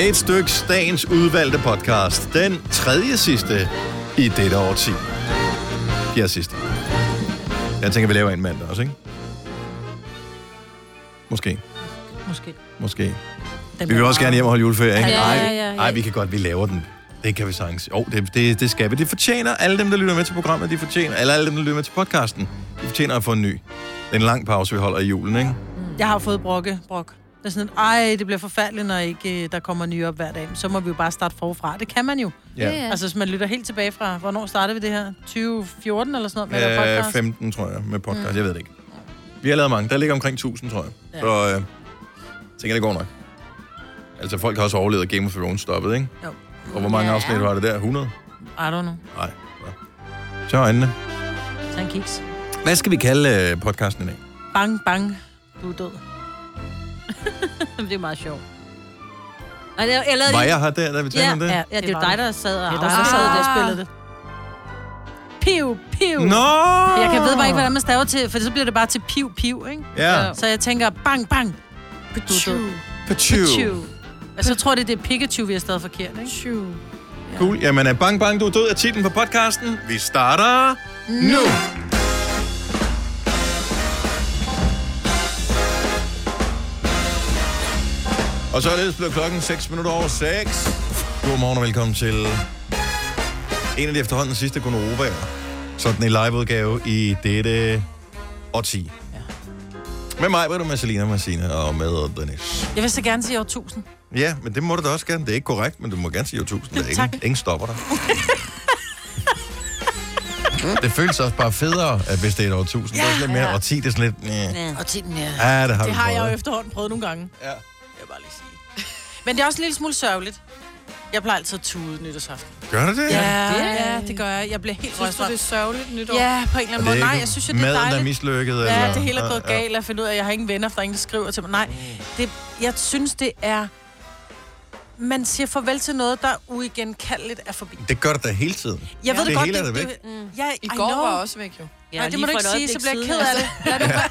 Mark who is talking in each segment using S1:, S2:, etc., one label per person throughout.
S1: Et stykke dagens udvalgte podcast. Den tredje sidste i dette årti. Fjerde sidste. Jeg tænker, vi laver en mandag også, ikke? Måske.
S2: Måske.
S1: Måske.
S2: Den
S1: Vi vil
S2: bliver
S1: også
S2: meget-
S1: gerne hjem og holde juleferie, ikke?
S2: Ja,
S1: Nej,
S2: ja, ja, ja.
S1: nej, vi kan godt, vi laver den. Det kan vi sagtens. Jo, det, det, det skal vi. Det fortjener alle dem, der lytter med til programmet, de fortjener, eller alle dem, der lytter med til podcasten, de fortjener at få en ny. Det er en lang pause, vi holder i julen, ikke?
S3: Jeg har jo fået brokke, brok. Det er sådan, at, ej, det bliver forfærdeligt, når ikke øh, der kommer nye op hver dag. Så må vi jo bare starte forfra. Det kan man jo.
S1: Ja. Ja, ja.
S3: Altså, hvis man lytter helt tilbage fra, hvornår startede vi det her? 2014 eller sådan noget? Med øh,
S1: Øh,
S3: podcast?
S1: 15, tror jeg, med podcast.
S3: Mm.
S1: Mm. Jeg ved det ikke. Vi har lavet mange. Der ligger omkring 1000, tror jeg.
S3: Ja.
S1: Ja. Så øh, jeg tænker, det går nok. Altså, folk har også overlevet Game of Thrones stoppet, ikke?
S3: Jo.
S1: Og hvor mange
S3: Ja.
S1: ja. afsnit var det der? 100?
S3: I don't know.
S1: Nej. Så øjnene.
S3: Tag en kiks.
S1: Hvad skal vi kalde øh, podcasten i dag?
S3: Bang, bang. Du er død.
S2: det er meget sjovt. Nej, jeg, jeg lavede
S1: Var
S2: lige-
S1: jeg her der, da vi talte
S2: ja,
S1: om det?
S2: Ja, ja, det,
S3: Det
S2: var
S3: var
S2: dig,
S3: det.
S2: der sad og
S3: Det er
S2: der
S3: dig, der sad der og
S2: spillede
S3: spillede
S2: det. Piv, piv.
S1: Nå!
S3: Jeg kan ved bare ikke, hvordan man staver til, for så bliver det bare til piv, piv, ikke?
S1: Ja.
S3: Så jeg tænker, bang, bang. Du er død.
S1: Pachu.
S3: Pichu. Altså, jeg tror, det er det Pikachu, vi har stadig forkert, ikke? Mm. Pichu.
S1: Cool. Jamen, øh, bang, bang, du er død af titlen på podcasten. Vi starter nu. Og så er det blevet klokken 6 minutter over 6. Godmorgen og velkommen til en af de efterhånden sidste Gunovaer. Sådan en liveudgave i dette årti. Med mig, Britta, med Selina, med Sine og med Dennis.
S3: Jeg vil så gerne sige år 1000.
S1: Ja, men det må du da også gerne. Det er ikke korrekt, men du må gerne sige jo tusind. Der er ingen, ingen stopper dig. det føles også bare federe, at hvis det er et år tusind. Ja, det er sådan lidt mere, ja. og 10 det er sådan lidt... Næh.
S3: Og tiden,
S1: Ja, det har vi
S3: det har
S1: prøvet,
S3: jeg jo
S1: ikke?
S3: efterhånden prøvet nogle gange.
S1: Ja. Jeg
S3: vil bare lige sige. Men det er også en lille smule sørgeligt. Jeg plejer altid at tude nytårsaften.
S1: Gør du det?
S3: Ja,
S1: Det-
S3: ja, det gør jeg. Jeg bliver helt
S4: Synes du, det er
S3: sørgeligt nytår? Ja, på en eller
S1: Og
S3: anden
S1: det er
S3: måde. Nej,
S1: ikke
S3: jeg synes, jo, det er
S1: maden, der er
S3: dejligt.
S1: mislykket,
S3: Ja,
S1: eller-
S3: det hele er gået
S1: Ja, ja.
S3: galt. Jeg finder ud af, at jeg har ingen venner, for der er ingen, der skriver til mig. Nej, det, jeg synes, det er... Man siger farvel til noget, der uigenkaldeligt er forbi.
S1: Det gør det da hele tiden.
S3: Jeg ved det, godt,
S1: hele er det væk.
S3: Mm. Ja,
S4: I
S3: I
S4: går
S3: know.
S4: var også væk, jo.
S3: Ja, Nej, det må du
S4: lige
S3: ikke
S4: for
S3: sige,
S4: et
S3: så
S4: øjeblik
S3: bliver jeg
S4: siden,
S3: ked af det. Lad det
S4: altså.
S3: være.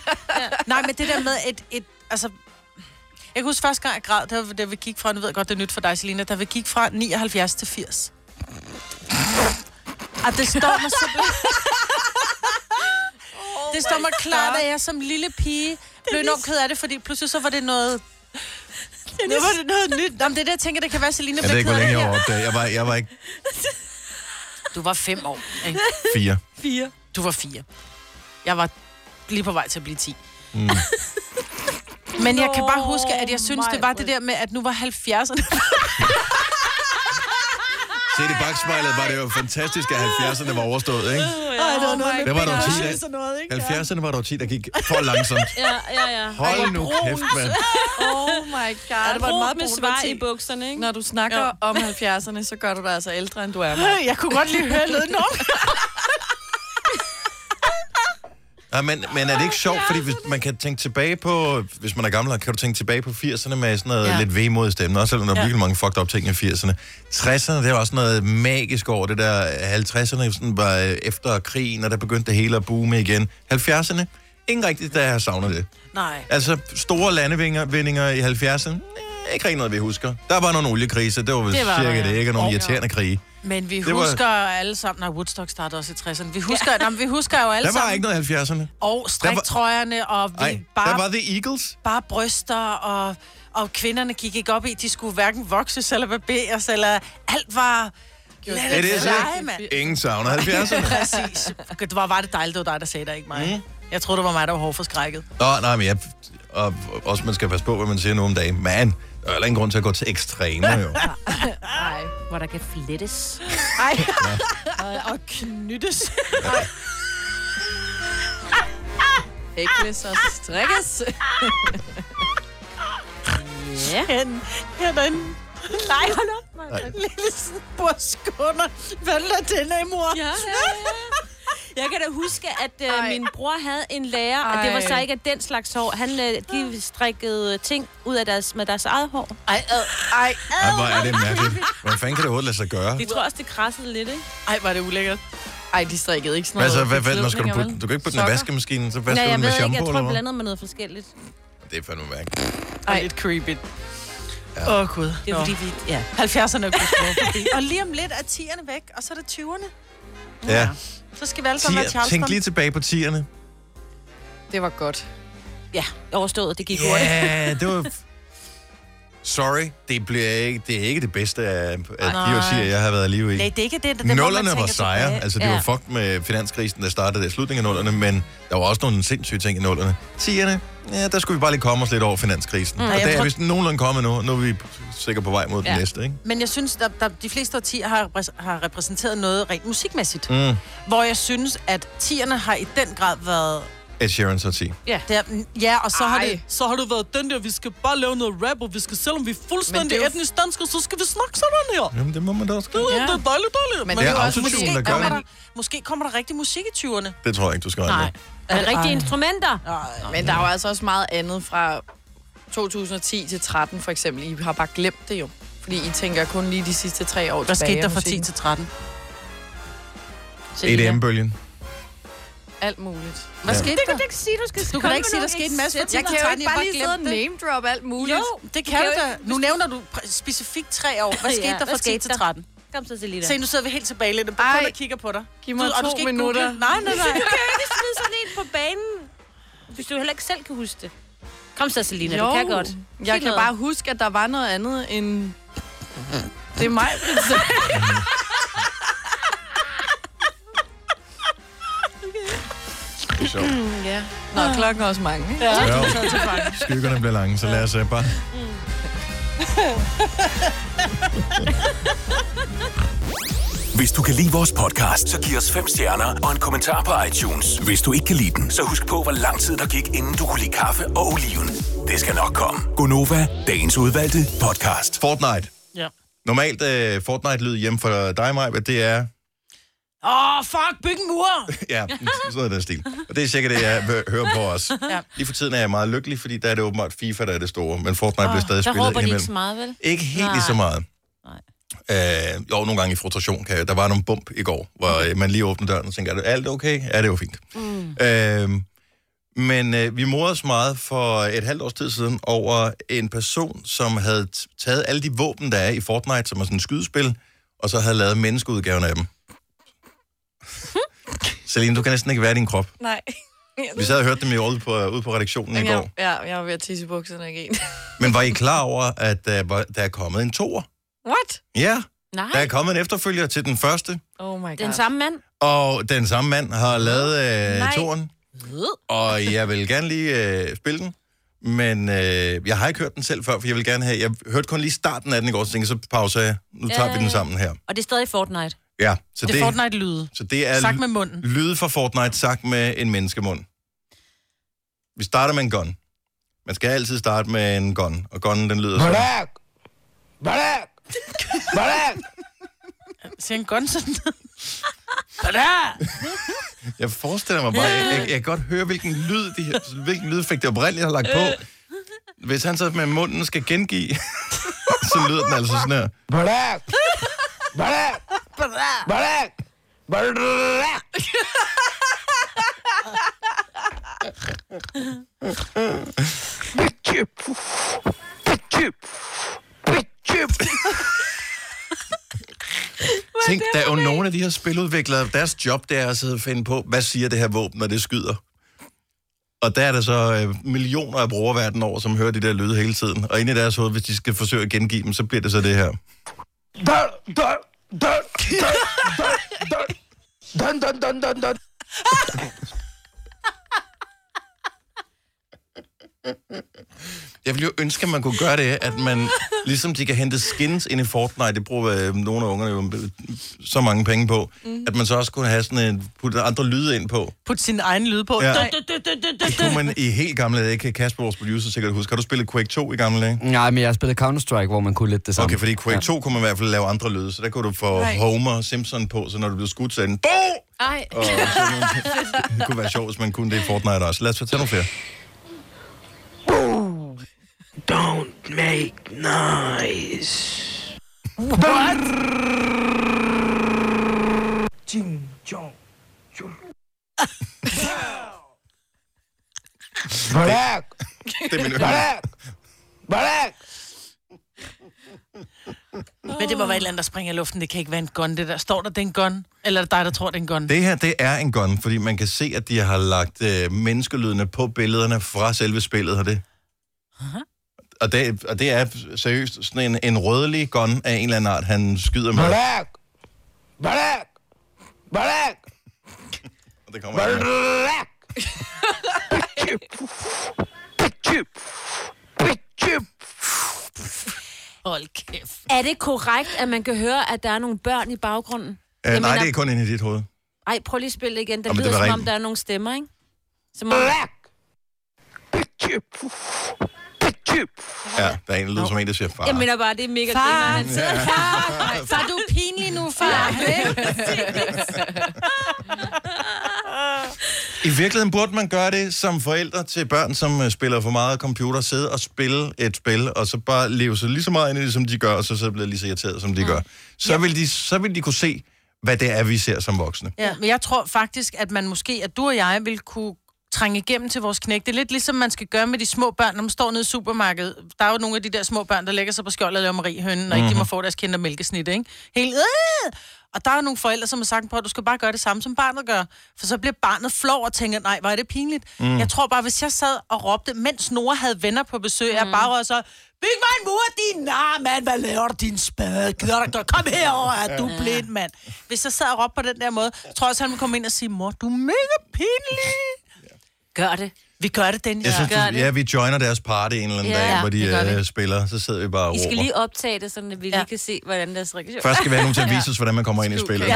S3: ja. Nej, men det der med et, et, altså... Jeg kan huske første gang, jeg græd, det var, da vi gik fra, nu ved jeg godt, det er nyt for dig, Selina, da vi gik fra 79 til 80. Og det står mig simpelthen...
S4: Oh
S3: det står mig
S2: my
S3: klart,
S2: God.
S3: at jeg som lille pige blev enormt ked af det, fordi pludselig så var det noget... Nu
S2: Dennis.
S3: var det noget nyt. Nå, men det er det, jeg tænker, det kan være, Selina
S1: Jeg ved
S3: bliver
S1: ikke,
S3: ked
S1: hvor
S3: af
S1: længe
S3: det
S1: jeg var
S3: her.
S1: opdaget. Jeg var, jeg var ikke
S3: Du var fem år, ikke?
S1: fire.
S3: Fire. Du var fire. Jeg var lige på vej til at blive ti.
S1: Mm.
S3: Men jeg kan bare
S2: Nå,
S3: huske, at jeg synes, det var det der med, at nu var 70'erne.
S1: Se, det baksmejlet var det jo fantastisk, at 70'erne var overstået, ikke?
S3: Ej, det var noget med
S1: Det var der
S3: penge
S1: ti,
S3: og sådan noget, ikke?
S1: 70'erne var der jo 10, der gik for langsomt.
S2: Ja, ja, ja.
S1: Hold nu kæft, mand.
S4: Oh my god.
S2: det var en meget
S4: Brug
S2: brun parti. bukserne, ikke?
S4: Når du snakker
S2: Jo.
S4: jo. om 70'erne, så gør du dig altså ældre, end du er.
S3: Maj. Jeg kunne godt lige høre lyden om.
S1: Ja, men, men er det ikke sjovt, fordi hvis man kan tænke tilbage på, hvis man er gammel, kan du tænke tilbage på 80'erne med sådan noget
S5: Ja.
S1: ja. lidt vemodig stemme, også selvom der er
S5: Ja.
S1: virkelig mange fucked up ting i 80'erne. 60'erne, det var også noget magisk over det der, 50'erne sådan var øh, efter krigen, og der begyndte det hele at boome igen. 70'erne, ingen rigtigt, der har savnet det.
S3: Nej.
S1: Altså, store landevindinger i 70'erne, øh, ikke rigtig noget, vi husker. Der var nogle oliekriser, det var vel
S3: Det var der,
S1: cirka
S3: ja.
S1: det, ikke? Og nogle
S3: Og-
S1: irriterende krige.
S3: Men vi
S1: Det var-
S3: husker alle sammen... Nej, Woodstock startede også i 60'erne. Vi husker, ja. vi husker jo alle
S1: Der var
S3: sammen...
S1: ikke noget i 70'erne.
S3: Og striktrøjerne, og vi
S1: Ej,
S3: bare...
S1: der var The Eagles.
S3: Bare bryster, og, og kvinderne gik ikke op i, de skulle hverken vokses eller barberes, eller alt var... Lad
S1: Det er
S3: det lege, mand.
S1: det, Ingen savner 70'erne.
S3: Præcis. Det var, var det dejligt, det var dig, der sagde det, ikke mig. Mm. Jeg tror, det var mig, der var hårdt forskrækket.
S1: Nå, nej, men jeg... Og også, man skal passe på, hvad man siger nu om dagen. Man, der er heller ingen grund til at gå til ekstremer, jo.
S2: Nej, hvor der kan flettes.
S3: Ej. Og, og knyttes.
S4: Hækles og strikkes.
S2: Ja.
S3: Hen, herinde. Nej, hold op, mig. Lille burskunder. Hvad lader den af, mor?
S2: Ja, ja, ja. Jeg kan da huske, at øh, min bror havde en lærer, Ej. og det var
S4: Ej.
S2: så ikke af den slags hår. Han, øh, de strikkede ting ud af deres, med deres eget hår.
S3: Ej, ad, ej.
S1: Ej, hvor er det mærkeligt. Hvordan fanden kan det overhovedet lade sig gøre?
S2: De tror også, det krassede lidt, ikke?
S4: Ej, var det ulækkert. Ej, de strikkede ikke sådan
S1: Hvad
S4: noget.
S1: så? Hvad, hvad, hvad skal du
S4: forklædninger,
S1: putte?
S4: vel?
S1: Du kan ikke putte den i
S4: Sokker.
S1: vaskemaskinen, så
S2: Nej,
S1: vasker du
S2: jeg
S1: den med
S2: ved ikke.
S1: shampoo,
S2: Jeg tror,
S1: eller
S2: jeg
S1: hvad?
S2: blandede med noget forskelligt.
S1: Det er fandme mærkeligt.
S3: Ej. Lidt creepy. Åh, ja. oh, Gud.
S2: Det er
S3: Nå.
S2: fordi, vi... Ja.
S3: 70'erne er gået forbi. Og lige om lidt er 10'erne væk, og så er det 20'erne.
S1: Ja.
S3: Så skal vi alle sammen have
S1: Tier,
S3: Charleston.
S1: tænk lige tilbage på tierne.
S4: Det var godt.
S2: ja, overstået. Det gik yeah. hurtigt.
S1: Ja, det var... Sorry, det, bliver ikke, det er ikke det bedste af, af de årtier, jeg har været i live i.
S3: Nej, det er ikke det. det er den, hvor man
S1: Nullerne var
S3: tænker
S1: sejre.
S3: tilbage.
S1: Altså, det
S2: Ja.
S1: var fucked med finanskrisen, der startede i slutningen af nullerne, men der var også nogle sindssyge ting i nullerne. Tierne, ja, der skulle vi bare lige komme os lidt over finanskrisen. Mm, og
S3: jeg
S1: der er
S3: tror-
S1: vist nogenlunde kommet nu. Nu er vi sikkert på vej mod den
S2: Ja.
S1: næste, ikke?
S3: Men jeg synes, at der, de fleste årtier har, repræs- har repræsenteret noget rent musikmæssigt.
S1: Mm.
S3: Hvor jeg synes, at 10'erne har i den grad været...
S1: Ed Sheeran's årti.
S3: Der, ja, og så har,
S4: Ej.
S3: det, så har det været den der, vi skal bare lave noget rap, og vi skal, selvom vi er
S4: Men
S3: fuldstændig
S4: det er
S3: er
S4: jo-
S3: etnisk danskere, så skal vi snakke sådan her.
S1: Jamen, det må man da også gøre.
S3: Det,
S4: Ja.
S3: ja. det er dejligt, dejligt.
S4: Men
S1: Det er
S4: jo også
S1: autotune,
S4: musik,
S1: der gør
S4: og
S3: kommer
S1: det.
S3: der, måske kommer der rigtig musik i 20'erne.
S1: Det tror jeg ikke, du skal regne
S2: Nej.
S1: med.
S2: Er det rigtige
S3: Ej.
S2: instrumenter?
S4: Men der er jo altså også meget andet fra 2010 til 13 for eksempel. I har bare glemt det jo. Fordi I tænker kun lige de sidste tre år
S3: Hvad
S4: tilbage
S3: skete
S4: af
S3: der fra 10
S4: musikken.
S3: til 13?
S1: E EDM-bølgen.
S4: Alt muligt.
S3: Hvad
S1: Ja.
S3: ja. skete der?
S2: ikke sige, du skal
S3: Du kan da ikke sige, der skete en masse fra 10
S4: Jeg
S3: til
S4: kan jo
S3: 13.
S4: ikke bare lige sidde og
S3: glemte det.
S4: name drop alt muligt.
S3: Jo, det kan
S2: kan
S3: du
S2: jo
S3: da. Nu nævner du pr- specifikt tre år. Hvad
S2: Ja,
S3: skete der
S2: hvad
S3: fra 10
S2: skete
S3: til
S2: der?
S3: 13?
S2: Kom så, Selina.
S3: Se, nu sidder vi helt tilbage lidt og kun
S4: Ej.
S3: og kigger på dig.
S4: Giv mig
S3: du, og
S4: to
S3: du skal ikke
S4: minutter.
S3: Google. Nej, nej, nej.
S2: kan jo ikke smide sådan en på banen, hvis du heller ikke selv kan huske det. Kom så, Selina, du kan godt.
S4: Jeg
S2: Sig
S4: kan
S2: noget.
S4: bare huske, at der var noget andet end... Det er mig, Britt.
S1: Det er sjovt.
S4: ja. Nå, klokken er også mange. ikke?
S1: Ja, skyggerne bliver lange, så lad os uh, bare...
S5: Hvis du kan lide vores podcast, så giv os fem stjerner og en kommentar på iTunes. Hvis du ikke kan lide den, så husk på, hvor lang tid der gik, inden du kunne lide kaffe og oliven. Det skal nok komme. Gonova, dagens udvalgte podcast.
S1: Fortnite.
S3: Ja.
S1: Normalt uh, Fortnite-lyd hjemme for dig, Maja, det er...
S3: Åh, oh, fuck, byg en mur!
S1: Ja, sådan noget af den stil. Og det er cirka det, jeg hø- hører på os.
S3: Ja.
S1: Lige for tiden er jeg meget lykkelig, fordi der er det åbenbart FIFA, der er det store. Men Fortnite bliver stadig
S2: Der
S1: spillet
S2: råber de ikke
S1: indimellem.
S2: så meget, vel?
S1: Ikke helt lige så
S2: Nej.
S1: meget. Øh, jo, nogle gange i frustration. Kan jeg, der var nogle bump i går, hvor øh, man lige åbnede døren og tænkte, er det alt okay? Ja, det var fint. Mm. Øh, men øh, vi morede os meget for et halvt års tid siden over en person, som havde t- taget alle de våben, der er i Fortnite, som er sådan et skydespil, og så havde lavet menneskeudgaven af dem. Celine, du kan næsten ikke være i din krop.
S4: Nej.
S1: Vi sad og hørte dem i ude på, ude på redaktionen i går.
S4: Jeg, ja, jeg var ved at tisse i bukserne igen.
S1: Men var I klar over, at der, var, der er kommet en toer?
S4: What?
S1: Ja, der
S2: Nej,
S1: er kommet en efterfølger til den første.
S4: Oh my god.
S2: den samme mand.
S1: Og den samme mand har lavet øh,
S4: Nej.
S1: toren, og jeg vil gerne lige øh, spille den. Men øh, jeg har ikke hørt den selv før, for jeg vil gerne have... Jeg hørte kun lige starten af den i går, så tænkte jeg, så pauser jeg. Nu tager vi den sammen her.
S2: Øh, Og det er stadig Fortnite.
S1: Ja, så
S3: Det
S1: det,
S3: er Fortnite-lyde.
S1: så det er
S3: Sagt med munden.
S1: lyde fra Fortnite sagt med en menneskemund. Vi starter med en gun. Man skal altid starte med en gun, og gunnen den lyder sådan.
S6: Barak! Barak! Barak!
S3: Siger en gun sådan
S1: Jeg forestiller mig bare, jeg, jeg, jeg kan godt høre, hvilken lyd, de her, hvilken lydeffekt det oprindeligt har lagt på. Hvis han så med munden skal gengive, så lyder den altså sådan her.
S6: Barak! Barak! Barak! Barak! Bitch! Bitch! Bitch!
S1: Tænk, der er jo nogle af de her spiludviklere, deres job det er altså at sidde og finde på, hvad siger det her våben, når det skyder. Og der er der så øh, millioner af brugere verden over, som hører de der lyde hele tiden. Og inde i deres hoved, hvis de skal forsøge at gengive dem, så bliver det så det her.
S6: Dun, dun, dun, dun, dun, dun. Dun, dun, dun, dun, dun.
S1: Jeg ville jo ønske, at man kunne gøre det, at man, ligesom de kan hente skins ind i Fortnite, det bruger øh, nogle af ungerne jo øh, så mange penge på, mm. at man så også kunne have sådan en, putte andre lyde ind på.
S3: Put sin egen lyd på.
S1: Ja.
S3: Ja. Du, du, du, du, du,
S1: Det
S3: du.
S1: kunne man i helt gamle dage, kan Kasper, vores producer, sikkert huske. Har du spillet Quake 2 i gamle dage?
S7: Nej, men jeg har spillet Counter-Strike, hvor man kunne lidt det samme.
S1: Okay, fordi i Quake 2 kunne man i hvert fald lave andre lyde, så der kunne du få
S4: Nej.
S1: Homer og Simpson på, så når du blev skudt, så er den, "Bo!"
S4: Ej.
S1: og så, det kunne være sjovt, hvis man kunne det i Fortnite også. Lad os fortælle nogle flere.
S6: Don't make noise. What? Ching chong. chong. Barak!
S1: Det er min
S6: Barak! Barak!
S3: Men det må være et eller andet, der springer i luften. Det kan ikke være en gun, det der. Står der, det er en gun? Eller er det dig, der tror, det er en gun?
S1: Det her, det er en gun, fordi man kan se, at de har lagt øh, menneskelydene på billederne fra selve spillet her det. Og det, og det er seriøst sådan en, en rødlig gun af en eller anden art, han skyder med.
S6: Black! Black! Black!
S1: Og Det kommer ikke med.
S6: Black! Bitch! Bitch!
S3: Hold kæft.
S2: Er det korrekt, at man kan høre, at der er nogle børn i baggrunden?
S1: Øh,
S2: Jeg
S1: nej,
S2: mener-
S1: det er kun inde i dit hoved.
S2: Ej, prøv lige at spille det igen. Det
S1: Jamen, det
S2: lyder, som
S1: var
S2: om
S1: rent-
S2: der er nogle stemmer, ikke? Som om...
S6: Bitch! Bitch!
S1: Ja, der er en der lyder som en, der siger far.
S2: Jeg mener bare, det er mega
S3: Far,
S2: grineren.
S3: han
S2: sidder far. Far, du er pinlig nu, far.
S1: I virkeligheden burde man gøre det som forældre til børn, som øh, spiller for meget computer, sidde og spille et spil, og så bare leve sig lige så meget ind i det, som de gør, og så, så bliver lige så irriteret, som de gør. Så vil de, så vil de kunne se, hvad det er, vi ser som voksne.
S3: Ja, men jeg tror faktisk, at man måske, at du og jeg vil kunne trænge igennem til vores knægte. Lidt ligesom man skal gøre med de små børn, når man står nede i supermarkedet. Der er jo nogle af de der små børn, der lægger sig på skjold og laver mariehønen, og ikke de må få deres kinder mælkesnit, ikke? Helt, øh! Og der er nogle forældre, som har sagt, på, at du skal bare gøre det samme, som barnet gør. For så bliver barnet flov og tænker, nej, hvor er det pinligt. Mm. Jeg tror bare, hvis jeg sad og råbte, mens Nora havde venner på besøg, mm. jeg bare var så, byg mig en mur, din nar, mand, hvad laver du, din spade, gider dig, kom herover, er du blind, mand. Hvis jeg sad og råbte på den der måde, så tror jeg også, han ville komme ind og sige, mor, du er mega pinlig.
S2: Gør det.
S3: Vi gør det, den her.
S1: Jeg synes,
S2: Gør
S1: du,
S2: det.
S1: ja, vi joiner deres party en eller anden
S2: Ja,
S1: dag, hvor
S2: det gør
S1: de
S2: vi.
S1: uh, spiller. Så sidder vi bare og
S2: I skal
S1: råber.
S2: lige optage det, så vi lige kan se, hvordan deres reaktion
S1: Først skal vi have nogen til at vise os, hvordan man kommer ind i spillet.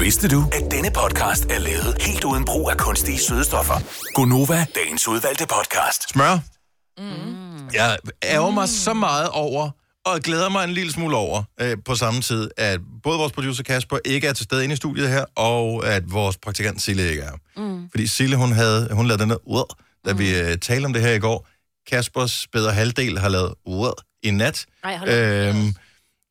S5: Vidste du, at denne podcast er lavet helt uden brug af kunstige sødestoffer? Gonova, dagens udvalgte podcast.
S1: Smør. Mm. Jeg ærger mig så meget over, og glæder mig en lille smule over øh, på samme tid, at både vores producer Kasper ikke er til stede inde i studiet her, og at vores praktikant Sille ikke er. Mm. Fordi Sille, hun, havde, hun lavede den der ud, da mm. vi øh, talte om det her i går. Kaspers bedre halvdel har lavet ud i nat.
S2: Ej, hold op.
S1: Øhm,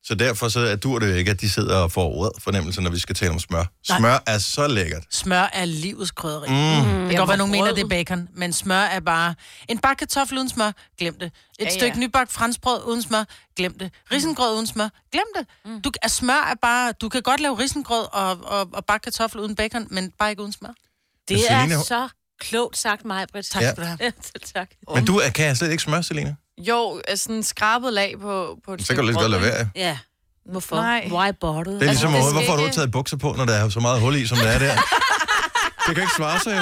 S1: så derfor så er dur det jo ikke, at de sidder og får ordet fornemmelsen, når vi skal tale om smør.
S3: Nej.
S1: Smør er så lækkert.
S3: Smør er livets krydderi. Mm. Det kan godt være, nogen mener, det er bacon, men smør er bare... En bakke kartoffel uden smør, glem det. Et ja,
S4: ja.
S3: stykke nybagt franskbrød uden smør, glem det. Risengrød uden smør, glem det.
S2: Mm.
S3: Du, er smør er bare... Du kan godt lave risengrød og, og, og bakke kartoffel uden bacon, men bare ikke uden smør.
S2: Det
S1: Selina-
S2: er så klogt sagt mig, Britt.
S1: Ja.
S2: skal du have. tak.
S1: Men du er- kan slet ikke smør, Selina.
S4: Jo, altså sådan en skrabet lag på, på et
S1: Så kan du lige så godt lade være.
S2: Ja. Hvorfor?
S4: Nej.
S2: Why bottle?
S1: Det er ligesom,
S4: det
S1: altså,
S4: skal
S1: hvorfor har du
S4: ikke-
S1: ikke taget bukser på, når der er så meget hul i, som der er der? Det kan ikke svare sig, jo.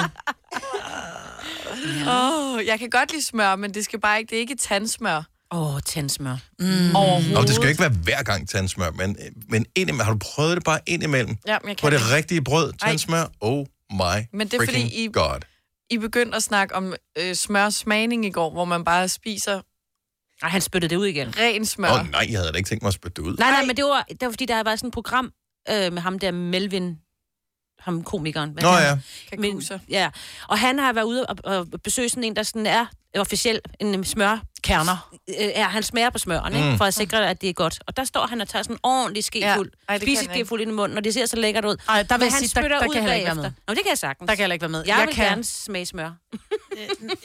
S4: Åh, oh, jeg kan godt lide smør, men det skal bare ikke, det er ikke tandsmør
S2: Åh, Mm. oh, tandsmør.
S1: Nå,
S4: overhovedet.
S1: det skal jo ikke være hver gang tandsmør, men, men indimellem, har du prøvet det bare indimellem?
S4: Ja, men jeg
S1: På
S4: kan
S1: det
S4: ikke.
S1: rigtige brød, tandsmør, oh my
S4: Men det er
S1: freaking
S4: fordi, I-
S1: god.
S4: I begyndte at snakke om øh, smørsmagning i går, hvor man bare spiser
S2: Nej, han spyttede det ud igen.
S4: ren smør.
S1: Åh oh, nej, jeg havde da ikke tænkt mig at spytte det ud.
S2: Nej, nej, men det var, det var fordi, der var sådan et program øh, med ham der Melvin, ham komikeren. Hvad
S1: Nå
S2: hedder han?
S1: ja,
S2: Men,
S4: Kakuser.
S2: ja, og han har været ude og, og besøge sådan en, der sådan er officiel en smør.
S3: Kerner.
S2: Øh, ja, han smager på smøren, ikke?
S1: Mm.
S2: for at sikre, at det er godt. Og der står han og tager sådan en ordentlig skefuld,
S4: Ja. Ej,
S2: ja.
S4: det kan jeg
S2: spiseskefuld ind i munden, og det ser så lækkert ud.
S3: Ej, der vil
S2: Men
S3: jeg
S2: han
S3: sige, der,
S2: spytter
S3: der, der
S2: ud
S3: kan jeg heller ikke være
S2: bagefter.
S3: med.
S2: Nå, det kan jeg sagtens.
S3: Der kan jeg heller ikke være med.
S2: jeg, jeg vil
S3: kan,
S2: kan. gerne smage smør.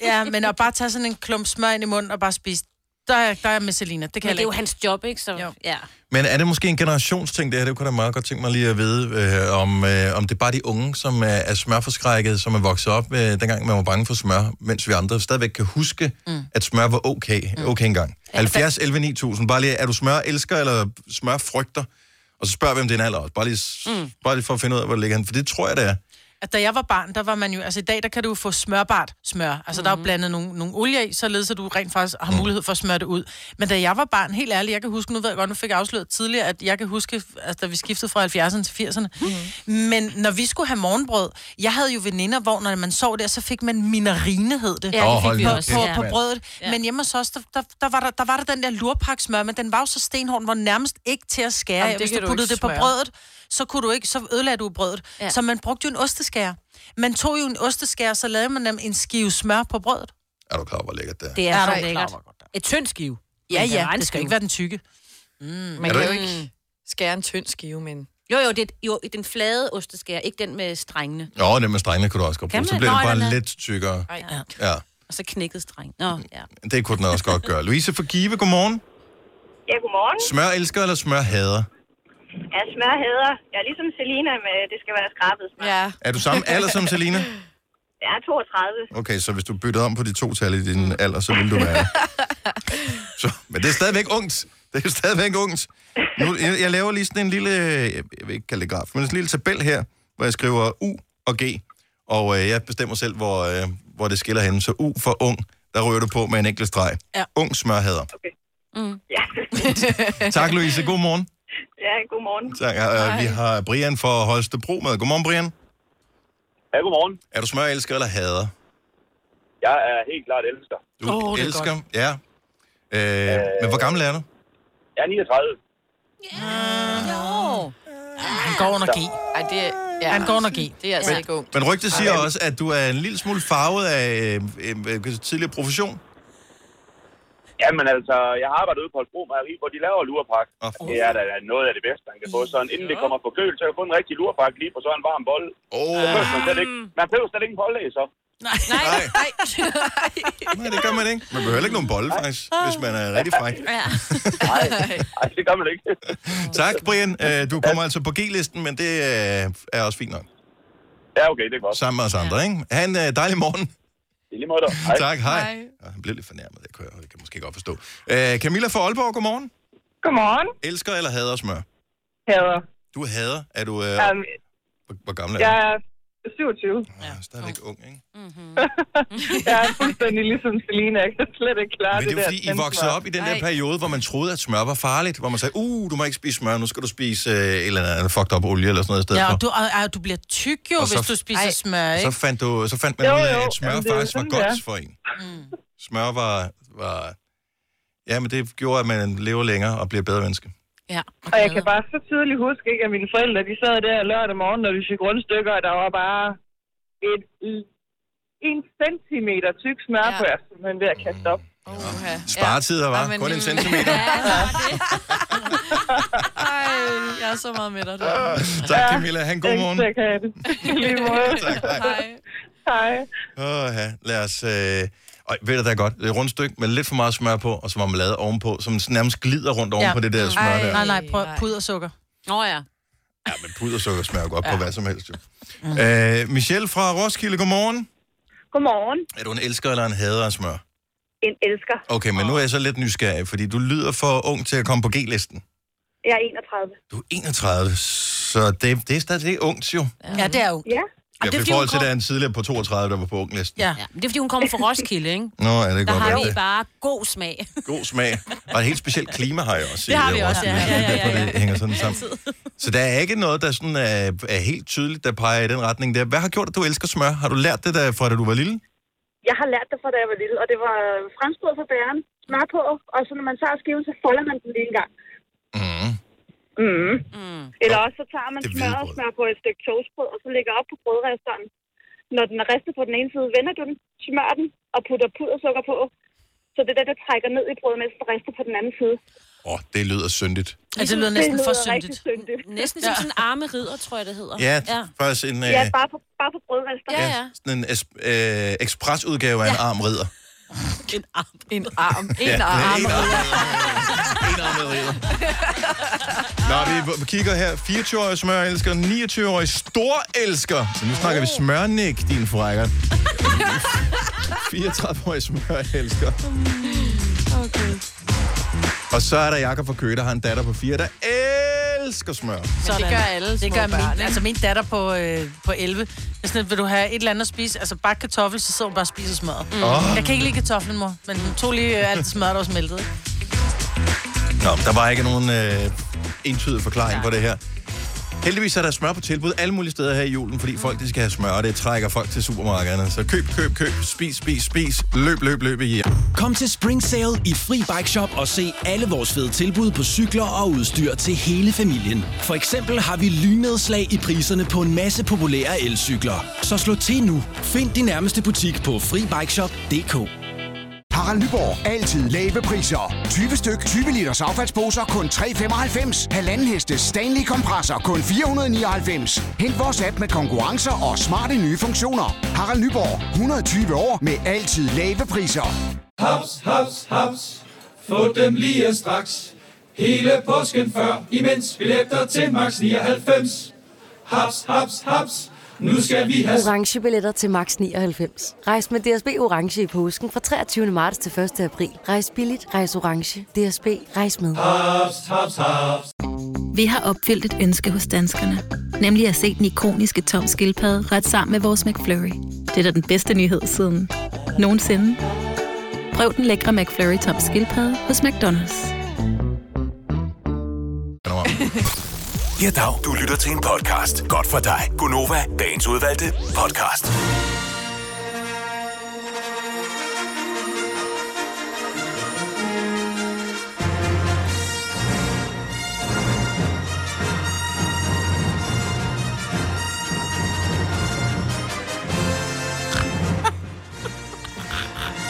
S3: Ja, men at bare tage sådan en klump smør ind i munden og bare spise... Der, er- der er jeg med Selina. Det kan
S2: Men det
S3: jeg
S2: er jo
S3: ikke.
S2: hans job, ikke? Så,
S3: Jo.
S2: ja.
S1: men er det måske en generationsting, det her? Det kunne jeg da meget godt tænke mig lige at vide, øh, om, øh, om det er bare de unge, som er, er smørforskrækket, som er vokset op, øh, dengang man var bange for smør, mens vi andre stadigvæk kan huske, mm. at smør var okay,
S2: Mm.
S1: okay engang. 70, 11, 9000. Bare lige, er du smør elsker eller smør frygter? Og så spørger vi, om det er en alder også. Bare lige, s-
S2: Mm.
S1: bare lige for at finde ud af, hvor det ligger han. For det tror jeg, det er.
S3: at da jeg var barn, der var man jo... Altså i dag, der kan du jo få smørbart smør. Altså
S2: Mhm.
S3: mm. der er jo blandet nogle, nogle olier i, således at du rent faktisk har mulighed for at smøre det ud. Men da jeg var barn, helt ærligt, jeg kan huske, nu ved jeg godt, nu fik jeg afsløret tidligere, at jeg kan huske, altså da vi skiftede fra 70'erne til 80'erne. Mm. Men når vi skulle have morgenbrød, jeg havde jo veninder, hvor når man sov der, så fik man minarine, hed det.
S2: Ja, det
S1: hold
S2: fik vi
S1: nu
S2: også.
S1: kæft,
S3: på,
S2: Ja.
S3: på brødet. Ja. Men hjemme hos os, der, der, der, var der, der var der den der lurpaksmør, men den var jo så stenhård, den var nærmest ikke til at skære.
S4: Jamen,
S3: Jamen,
S4: det
S3: Hvis
S4: kan
S3: du
S4: du
S3: puttede
S4: ikke
S3: det på
S4: smøre.
S3: brødet, så, kunne du ikke, så ødelagde du brødet. Ja.
S2: Ja.
S3: Så man brugte jo en osteskærer. Man tog jo en osteskærer, så lavede man nemlig en skive smør på brødet.
S1: Er du klar, over, hvor lækkert det er?
S2: Det er,
S3: Er du
S2: så
S3: ikke
S2: lækkert. Et tyndt skive.
S3: Ja, ja,
S2: en
S3: det skal
S2: skive.
S3: ikke være den tykke.
S4: Man
S1: Er
S4: kan
S1: det
S4: jo ikke skære en tynd skive, men...
S2: Mm. Jo, jo, det er jo, den flade osteskær, ikke den med strengene.
S1: Nå, det med strengene kunne du også godt
S2: Mm. Kan
S1: bruge. Så
S2: man?
S1: bliver det
S2: Nå,
S1: bare
S2: den er-
S1: lidt tykkere.
S4: Ej, ja.
S1: Ja.
S2: Og så knækkede streng. Nå, ja.
S1: Det kunne den også godt gøre. Louise for Give, godmorgen.
S8: Ja, godmorgen.
S1: Smør elsker eller smør hader?
S8: Ja, smør hedder. Jeg er ligesom Selina med, det skal være skrabet smør. Ja.
S4: Ja.
S1: Er du samme alder som Selina?
S8: Jeg er 32.
S1: Okay, så hvis du byttede om på de to tal i din alder, så ville du være... Så, men det er stadigvæk ungt. Det er stadigvæk ungt. Nu, jeg, jeg laver lige sådan en lille, jeg vil ikke kalde det graf, men en lille tabel her, hvor jeg skriver U og G. Og øh, jeg bestemmer selv, hvor, øh, hvor det skiller hen. Så U for ung, der rører du på med en enkelt streg.
S3: Ja.
S1: Ung smørhader.
S8: Ja,
S1: Tak, Louise. God morgen.
S8: ja godmorgen.
S1: Tak. Øh, vi har Brian fra Holstebro med. Godmorgen, Brian.
S6: Ja, godmorgen.
S1: Er du smørelsker eller hader?
S6: Jeg er helt klart elsker.
S1: Du
S3: Åh, det er
S1: elsker. Ja. Øh, men hvor gammel er du?
S6: Jeg er 39.
S3: Han går under G.
S4: Ej, det er... Ja.
S3: Han går under G.
S4: Det er altså ikke ungt.
S1: Men rygtet siger også, at du er en lille smule farvet af øh, øh, øh, tidligere profession.
S6: Jamen altså, jeg har arbejdet ude på Holstebro Mejeri, hvor de laver lurpak.
S1: Åh, for-
S6: Det er da noget af det bedste, man kan få. Sådan inden det kommer på køl, så kan jeg få en rigtig lurpak lige på sådan en varm bold.
S1: Åh,
S6: Man
S1: oh,
S6: behøver slet ikke, man behøver slet ikke en pålæg, så.
S3: Nej.
S1: nej. nej, det gør man ikke. Man behøver heller ikke nogen bolle, faktisk, hvis man er rigtig fræk.
S2: ja.
S6: Nej, nej, det gør man ikke.
S1: Tak, Brian. Øh, Du kommer altså på G-listen, men det øh, er også fint nok.
S6: Ja, okay, det er godt.
S1: Sammen med os andre, ikke? Ha' en øh, dejlig morgen.
S6: I lige måde. Hej.
S1: Tak, hej.
S4: Hej.
S1: Ja, Han blev lidt fornærmet, det kan jeg, jeg kan måske godt forstå. Øh, Camilla fra Aalborg, godmorgen.
S8: Godmorgen.
S1: Elsker eller hader smør?
S8: Hedder.
S1: Du hader. Er du... Øh,
S8: Um,
S1: hvor, hvor gammel er
S8: jeg
S1: du?
S8: er 27.
S1: Ja, stadigvæk ung, ikke?
S8: Jeg er fuldstændig ligesom Selina. Jeg kan slet ikke klare
S1: Men det er
S8: der.
S1: jo fordi, I voksede op i den der periode, hvor man troede, at smør var farligt. Hvor man sagde, uh, du må ikke spise smør, nu skal du spise øh, et eller andet fucked up olie eller sådan noget i stedet
S3: Ja,
S1: for.
S3: og du, og, og du bliver tyk jo,
S1: Og så-
S3: hvis du spiser
S4: Ej.
S3: smør,
S1: Så
S3: ikke?
S1: fandt, du, så fandt man
S8: Jo,
S1: ud af,
S8: jo,
S1: at smør
S8: jamen, det er jo
S1: faktisk var
S8: sådan,
S1: godt
S8: det er.
S1: for en. Smør var, var... Ja, men det gjorde, at man lever længere og bliver bedre menneske.
S2: ja.
S8: Og jeg kan bare så tydeligt huske, ikke, at mine forældre de sad der lørdag morgen, når vi fik rundstykker, og der var bare et, en centimeter tyk smør
S4: Ja.
S8: på ja. men ved at kaste op.
S4: Uha.
S1: Sparetider var
S4: Nå, men
S1: kun en
S4: min-
S1: centimeter.
S4: Ej, jeg er så meget med dig. Du.
S1: tak, Camilla. Han god morgen.
S8: Jeg kan have det. I lige måde.
S1: Tak, hej.
S4: Hej.
S8: Hej.
S1: Åh, ja. Lad os... Øh... Og ved du da godt, det er et rundt stykke med lidt for meget smør på, og så marmelade ovenpå, som nærmest glider rundt ovenpå ja. det der smør der.
S3: Nej, nej, prøv
S4: Nej.
S3: pudersukker.
S2: Nå ja.
S1: Ja, men pudersukker smager jo godt ja. på hvad som helst, jo. Mm. Øh, Michelle fra Roskilde, godmorgen.
S8: Godmorgen.
S1: Er du en elsker eller en hader af smør?
S8: En elsker.
S1: Okay, men nu er jeg så lidt nysgerrig, fordi du lyder for ung til at komme på G-listen.
S8: Jeg er 31.
S1: Du er 31, så det, det er stadig det er ungt, jo. Ja,
S3: Ja, det er jo.
S8: Ja.
S2: det er
S1: for i
S2: fordi,
S1: forhold
S2: hun
S1: til,
S2: kom-
S1: der er en tidligere på 32, der var på unglisten.
S3: Ja.
S2: ja. Men det er, fordi hun kommer fra Roskilde, ikke?
S1: Nå, ja, det kan
S2: Der
S1: godt
S2: har
S1: være
S2: vi
S1: det.
S2: bare god smag.
S1: God smag. Og et helt specielt klima har jeg også. i
S2: Det har vi også,
S1: Roskilde.
S2: ja. Ja, ja, ja,
S1: Derfor,
S2: ja.
S1: Det hænger sådan sammen. Så der er ikke noget, der sådan er, er helt tydeligt, der peger i den retning der. Hvad har gjort, at du elsker smør? Har du lært det, der, fra da du var lille?
S8: Jeg har lært det fra, da jeg var lille, og det var franskbrød fra bæren, smør på, og så når man tager skiven, så folder man den lige en gang.
S1: Mm.
S8: Mm.
S2: Mm.
S8: Eller også så tager man
S1: Det er
S8: smør og
S1: hvidbrød.
S8: smør på et stykke toastbrød, og så lægger op på brødresteren. Når den er ristet på den ene side, vender du den, smører den og putter pudersukker på. Så det er det, der trækker ned i brødet, mens det rister på den anden side.
S1: Åh, oh, det lyder syndigt.
S3: Altså, det lyder
S8: Det
S3: næsten for
S8: lyder rigtig
S3: syndigt.
S8: syndigt.
S2: Næsten som sådan en arme ridder, tror jeg, det hedder.
S1: Ja, øh,
S2: ja.
S1: faktisk en,
S8: Ja,
S1: ja,
S8: bare på, bare på brødresteren.
S2: Ja,
S8: Ja.
S2: ja.
S1: sådan en es- øh, ekspresudgave af en arm ridder.
S2: En arm.
S4: En arm. En
S1: Ja,
S4: arm.
S1: En arm ridder. En arm ridder. Nå, vi kigger her. 24-årig smørelsker, 29-årig storelsker. Så nu snakker vi smørnik, din frækker. 34-årig smørelsker. Okay. Og så er der Jakob fra Køge, der har en datter på 4, der elsker smør.
S3: Sådan.
S4: det gør alle
S3: Det
S4: små
S3: gør
S4: børn,
S3: min,
S4: ikke?
S3: altså min datter på, øh, på 11. Det er sådan, at vil du have et eller andet at spise, altså bare kartoffel, så sidder hun bare og spiser smør. Mm.
S1: Åh.
S3: Jeg kan ikke lide kartoflen, mor, men hun tog lige øh, alt smør, der var smeltet.
S1: Nå, der var ikke nogen øh, entydig forklaring ja. på det her. Heldigvis er der smør på tilbud alle mulige steder her i julen, fordi folk de skal have smør, og det trækker folk til supermarkederne. Så køb, køb, køb, spis, spis, spis, løb, løb, løb i hjem.
S9: Kom til Spring Sale i Fri Bike Shop og se alle vores fede tilbud på cykler og udstyr til hele familien. For eksempel har vi lynedslag i priserne på en masse populære elcykler. Så slå til nu. Find din nærmeste butik på FriBikeShop.dk.
S10: Harald Nyborg. Altid lave priser. 20 styk, 20 liters affaldsposer kun 3,95. Halvanden heste Stanley kompresser kun 499. Hent vores app med konkurrencer og smarte nye funktioner. Harald Nyborg. 120 år med altid lave priser.
S11: Haps, haps, haps. Få dem lige straks. Hele påsken før, imens billetter til max 99. Haps, haps, haps. Nu skal vi have...
S12: orange billetter til max 99. Rejs med DSB orange i påsken fra 23. marts til 1. april. Rejs billigt, rejs orange. DSB rejs med.
S11: Haps, haps, haps.
S13: Vi har opfyldt et ønske hos danskerne. Nemlig at se den ikoniske tom skildpadde ret sammen med vores McFlurry. Det er da den bedste nyhed siden nogensinde. Prøv den lækre McFlurry tom skildpadde hos McDonald's.
S5: Ja, dag. Du lytter til en podcast. Godt for dig. Gunova, dagens udvalgte podcast.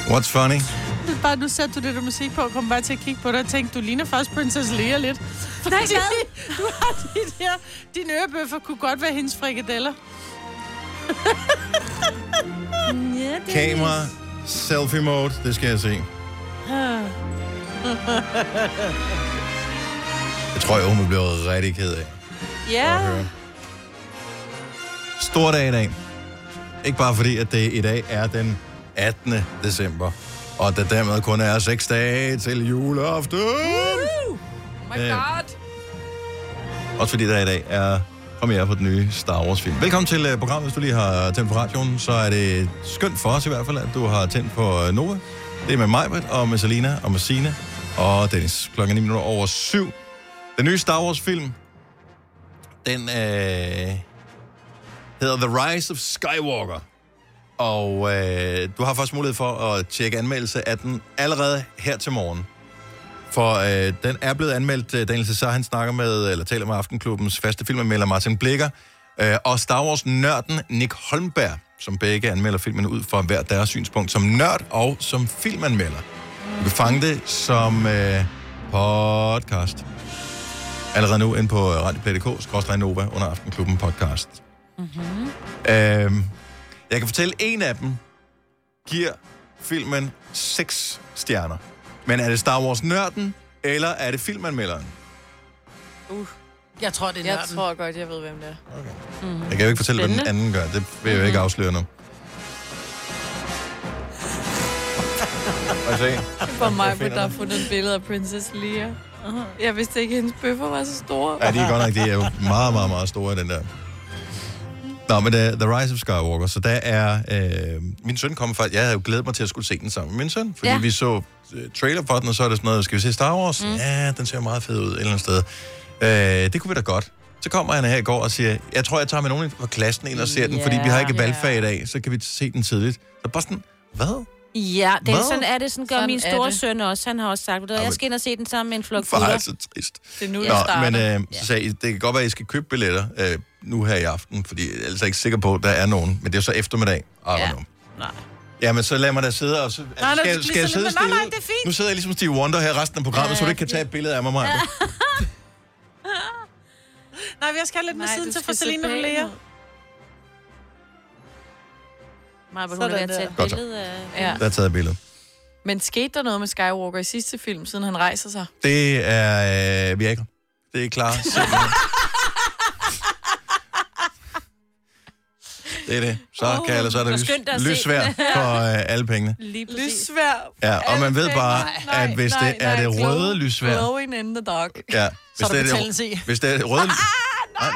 S1: What's funny?
S3: Det er bare, nu satte du det der musik på, og kom bare til at kigge på dig og tænkte, du ligner faktisk Princess Lea lidt. Fordi
S2: hvad?
S3: du har de der, dine ørebøffer kunne godt være hendes frikadeller.
S2: ja, det
S1: Kamera, selfie mode, det skal jeg se. Jeg tror, jeg hun bliver rigtig ked af.
S3: ja.
S1: Stor dag i dag. Ikke bare fordi, at det i dag er den 18. december, og der dermed kun er 6 dage til juleaften.
S4: Oh my
S1: Øh.
S4: god.
S1: Også fordi der i dag er premiere på den nye Star Wars-film. Velkommen til øh, programmet. Hvis du lige har tændt på radioen, så er det skønt for os i hvert fald, at du har tændt på øh, Nova. Det er med mig, og med Selina, og med Sine og Dennis. Klokken er 9 minutter over syv. Den nye Star Wars-film, den øh, hedder The Rise of Skywalker. Og øh, du har faktisk mulighed for at tjekke anmeldelse af den allerede her til morgen. For øh, den er blevet anmeldt. Øh, Daniel Cesar, han snakker med, eller taler med Aftenklubbens faste filmanmelder Martin Blikker, øh, og Star Wars-nørden Nick Holmberg, som begge anmelder filmen ud fra hver deres synspunkt, som nørd og som filmanmelder. Du kan fange det som øh, podcast. Allerede nu ind på radioplay.dk, skråstrej Nova, under Aftenklubben podcast. Mm-hmm. Øh, jeg kan fortælle, en af dem giver filmen 6 stjerner. Men er det Star Wars-nørden, eller er det filmanmelderen?
S4: Uh.
S3: Jeg tror, det er
S4: Jeg
S3: nørden.
S4: tror godt, jeg ved, hvem det er.
S1: Okay. Jeg kan jo ikke fortælle, Spændende. hvad den anden gør. Det vil jeg jo ikke afsløre nu. Og se.
S4: Det var mig,
S1: finder
S4: der har
S1: den.
S4: fundet et billede af Princess Leia. Jeg vidste ikke, at hendes bøffer var så store.
S1: Ja, de er godt nok, de er jo meget, meget, meget store, den der. Nå, men uh, The Rise of Skywalker, så der er... Øh, min søn kommer faktisk... Jeg havde jo glædet mig til at skulle se den sammen med min søn, fordi
S14: Ja.
S1: ja. vi så øh, trailer for den, og så er det sådan noget, skal vi se Star Wars? Mm. Ja, den ser meget fed ud et eller andet sted. Øh, det kunne vi da godt. Så kommer han her i går og siger, jeg tror, jeg tager med nogen fra klassen ind og ser den, fordi vi har ikke
S2: Ja.
S1: valgfag i dag, så kan vi se den tidligt. Så bare sådan, hvad?
S2: Ja, det er
S1: Hvad?
S2: sådan er det. Sådan gør
S4: Sådan
S2: min
S4: er
S2: store
S4: det.
S2: søn også. Han har også sagt, "Ved du hvad, jeg skal ind og se den sammen med en flok
S1: For
S2: gutter."
S1: er så trist.
S4: Det er nu,
S1: Nå,
S4: jeg starter.
S1: men øh, så sagde, I, det kan godt være, at I skal købe billetter øh, nu her i aften, fordi ellers er jeg ikke sikker på, at der er nogen. Men det er så eftermiddag. I don't know.
S2: Nej.
S1: Jamen, så lad mig da sidde og... Så, altså,
S3: nej,
S1: skal,
S3: lige
S1: skal jeg
S3: så-
S1: sidde
S3: nej,
S1: stille?
S3: nej, det er fint.
S1: Nu sidder jeg ligesom Steve Wonder her resten af programmet, ja, så du ikke kan tage et billede af mig, Maja.
S3: Nej, jeg skal have lidt med
S2: Nej,
S3: siden
S2: du
S3: til for
S2: skal se
S3: Selina
S2: bagud.
S3: Lea.
S2: Nej, men hun
S4: Sådan
S2: er
S4: der.
S2: tage et
S1: Godt så.
S2: billede af...
S4: øh, Ja.
S1: Der er taget et billede.
S4: Men skete der noget med Skywalker i sidste film, siden han rejser sig?
S1: Det er... Øh, vi er ikke... Det er klar. det er det. Så, kan, eller, så er
S2: hvor
S1: det
S2: skønt at
S1: lys,
S2: se.
S1: lysvær for øh, alle pengene.
S2: Lige
S4: Lysvær.
S1: Ja, og man ved bare,
S4: Nej,
S1: at hvis
S4: nej,
S1: det er
S4: nej,
S1: det
S4: glow-
S1: røde lysvær...
S4: Glowing in the dark.
S1: Ja,
S4: Så er der
S1: det
S4: betændelse i. Ah,
S1: det, hvis det er det røde... nej!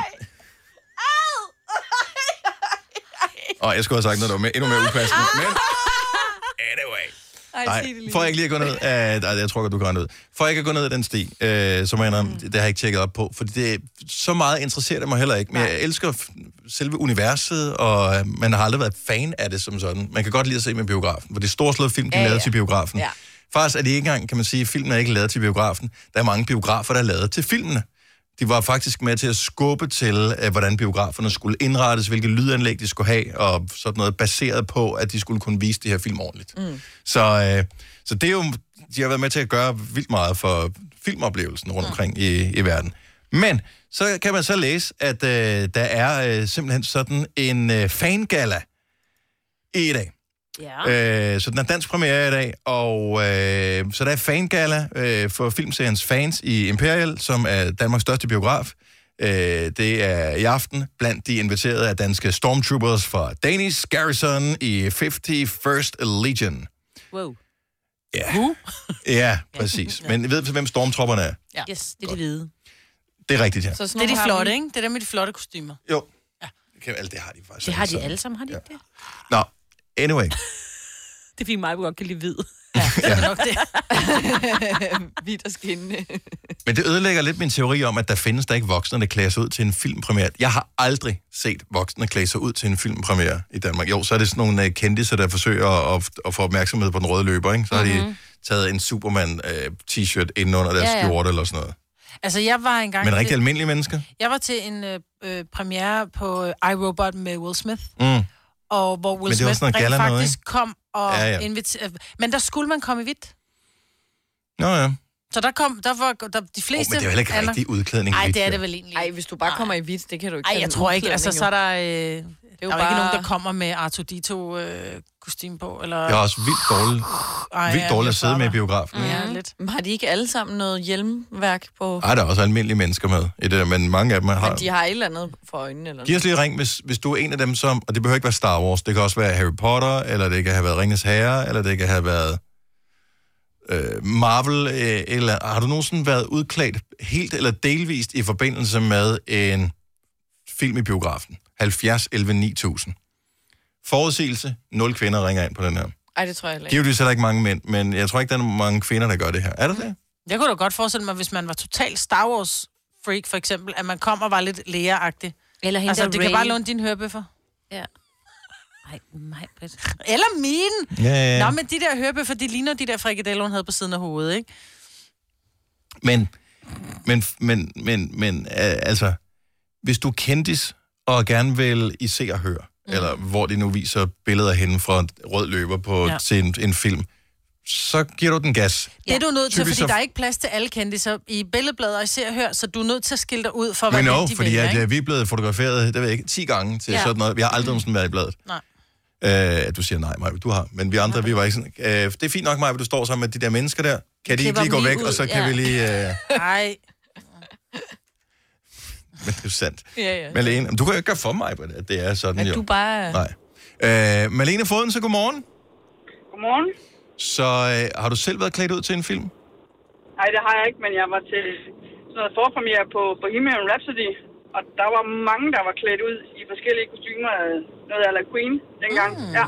S1: Ah. Åh, jeg skulle have sagt noget, der var mere- endnu
S4: Ah,
S1: mere upassende. Men anyway.
S4: Ej, sig det
S1: Nej,
S4: lige.
S1: for ikke lige at gå ned af... Nej, jeg tror godt, du går ned. For ikke at gå ned ad den sti, øh, som jeg indrømmer, mm. det har jeg ikke tjekket op på. Fordi det, så meget interesserer det mig heller ikke. Men jeg elsker f- selve universet, og øh, man har aldrig været fan af det som sådan. Man kan godt lide at se med biografen, for det er storslået film, de ja,
S14: Ja,
S1: lavede
S14: ja.
S1: til biografen.
S14: Ja.
S1: Faktisk er det ikke engang, kan man sige, at filmen er ikke lavet til biografen. Der er mange biografer, der er lavet til filmene. de var faktisk med til at skubbe til, øh, hvordan biograferne skulle indrettes, hvilke lydanlæg de skulle have, og sådan noget, baseret på, at de skulle kunne vise de her film ordentligt.
S14: Mm.
S1: Så, øh, så det er jo, de har været med til at gøre vildt meget for filmoplevelsen rundt omkring i, i verden. Men så kan man så læse, at øh, der er øh, simpelthen sådan en øh, fangala i dag. Ja. Øh, så den er dansk premiere i dag, og øh, så der er fangala øh, for filmseriens fans i Imperial, som er Danmarks største biograf. Øh, det er i aften blandt de inviterede af danske stormtroopers fra Danish Garrison i 51st Legion.
S2: Wow.
S1: Ja.
S3: Uh.
S1: Ja, præcis. Men ved du, hvem stormtropperne er?
S3: Ja. Yes, det er de hvide.
S1: Det er rigtigt, ja.
S3: Så
S4: sådan
S3: det er
S4: nogle
S3: de
S4: har
S3: flotte,
S4: vi.
S3: ikke? Det er dem med de flotte kostymer.
S1: Jo. Ja. Alt altså, det har de faktisk.
S2: Det har de
S1: alle
S2: alle sammen, har de ikke det?
S1: Nå, anyway.
S2: Det er fordi mig, godt kan lide hvid.
S1: Ja.
S4: nok det. Hvidt og skinnende.
S1: Men det ødelægger lidt min teori om, at der findes der ikke voksne, der klæder sig ud til en filmpremiere. Jeg har aldrig set voksne klæde sig ud til en filmpremiere i Danmark. Jo, så er det sådan nogle øh, kendtiser, der forsøger at, at få opmærksomhed på den røde løber, ikke? Så har de taget en Superman-t-shirt ind under deres
S3: Mhm. Ja, ja.
S1: skjorte eller sådan noget.
S3: Altså, jeg var engang...
S1: Men rigtig
S3: til-
S1: almindelige mennesker?
S3: Jeg var til en øh, øh, premiere på øh, iRobot med Will Smith,
S1: Mm.
S3: og hvor
S1: Men
S3: Will
S1: det var
S3: Smith
S1: sådan
S3: rent
S1: noget gala noget,
S3: faktisk
S1: ikke?
S3: kom og
S1: Ja,
S3: ja,
S1: ja.
S3: ja. inviterede... Men der skulle man komme i hvidt.
S1: Nå ja.
S3: Så der kom... Der var der, de fleste...
S1: men det er jo heller ikke rigtig udklædning i
S3: Nej,
S1: hvidt,
S3: det er
S1: jo.
S3: det vel egentlig.
S4: Nej, hvis du bare kommer i hvidt, det kan du ikke
S3: Nej,
S4: kalde
S3: jeg
S4: en
S3: tror ikke. Altså,
S4: udklædning,
S3: så er der...
S4: jo.
S3: Øh, det er jo der er bare... ikke
S4: bare-
S3: nogen, der kommer med Arthur Dito øh, kostume på, eller...
S1: Det er også vildt dårligt,
S3: Ej,
S1: vildt
S3: ja,
S1: dårligt
S3: det
S1: at
S3: er
S1: sidde med i biografen.
S4: Ja, lidt. Mm. Men Har de ikke alle sammen noget hjelmværk på?
S1: Ej, der er også almindelige mennesker med i det der, men mange af dem har...
S4: Men de har et eller andet for øjnene. Eller
S1: Giv os lige et ring, hvis, hvis du er en af dem, som... Og det behøver ikke være Star Wars. Det kan også være Harry Potter, eller det kan have været Ringens Herre, eller det kan have været øh, Marvel. Øh, eller Har du nogensinde været udklædt helt eller delvist i forbindelse med en film i biografen? 70 11 9000. Forudsigelse. Nul kvinder ringer ind på den her.
S4: Ej, det tror jeg heller ikke.
S1: Givetvis er der ikke mange mænd, men jeg tror ikke, der er mange kvinder, der gør det her. Er der det?
S3: Jeg kunne da godt forestille mig, hvis man var total Star Wars freak for eksempel, at man kom og var lidt lægeragtig.
S2: Eller hende
S3: altså,
S2: der
S3: du
S2: Ray.
S3: kan bare låne dine hørebøffer.
S2: Ja. Nej, nej, Britt.
S3: Eller mine.
S1: Ja, ja, ja.
S3: Nå, men de der hørebøffer, de ligner de der frikadeller, hun havde på siden af hovedet, ikke?
S1: Men, men, men, men, men øh, altså, hvis du er kendis og gerne vil i se og høre, mm. eller hvor de nu viser billeder henne fra en rød løber på ja.
S3: Ja.
S1: til en, en film, så giver du den gas.
S3: Ja. Det er du nødt til,
S1: Typisk
S3: fordi
S1: så-
S3: der er ikke plads til alle kendtiser i billedbladet, og især hør, så du er nødt til at skille dig ud for, hvad
S1: Men
S3: no,
S1: jo,
S3: de
S1: fordi
S3: vælger,
S1: at,
S3: ikke?
S1: ja, vi er blevet fotograferet, det ved jeg ikke, 10 gange til ja.
S3: Ja.
S1: sådan noget. Vi har aldrig nogensinde været i bladet.
S3: Nej.
S1: Øh, at du siger nej, Maja, du har. Men vi andre, vi var ikke sådan, øh, det er fint nok, Maja, du står sammen med de der mennesker der. Kan de
S3: Klipper
S1: ikke lige
S3: dem
S1: gå
S3: lige
S1: væk,
S3: ud,
S1: og så kan
S3: ja.
S1: vi lige... Øh,
S3: Nej.
S1: men det er jo sandt.
S4: Ja, ja.
S1: Malene, du kan jo ikke gøre for mig, Britt, at det er sådan,
S4: At
S1: jo.
S4: du bare...
S1: Nej. Øh, Malene Foden, så godmorgen.
S15: Godmorgen.
S1: Så øh, har du selv været klædt ud til en film?
S15: Nej, det har jeg ikke, men jeg var til sådan noget forpremiere på Bohemian Rhapsody, og der var mange, der var klædt ud i forskellige kostymer. øh, Noget af Queen dengang. Mm. Ja.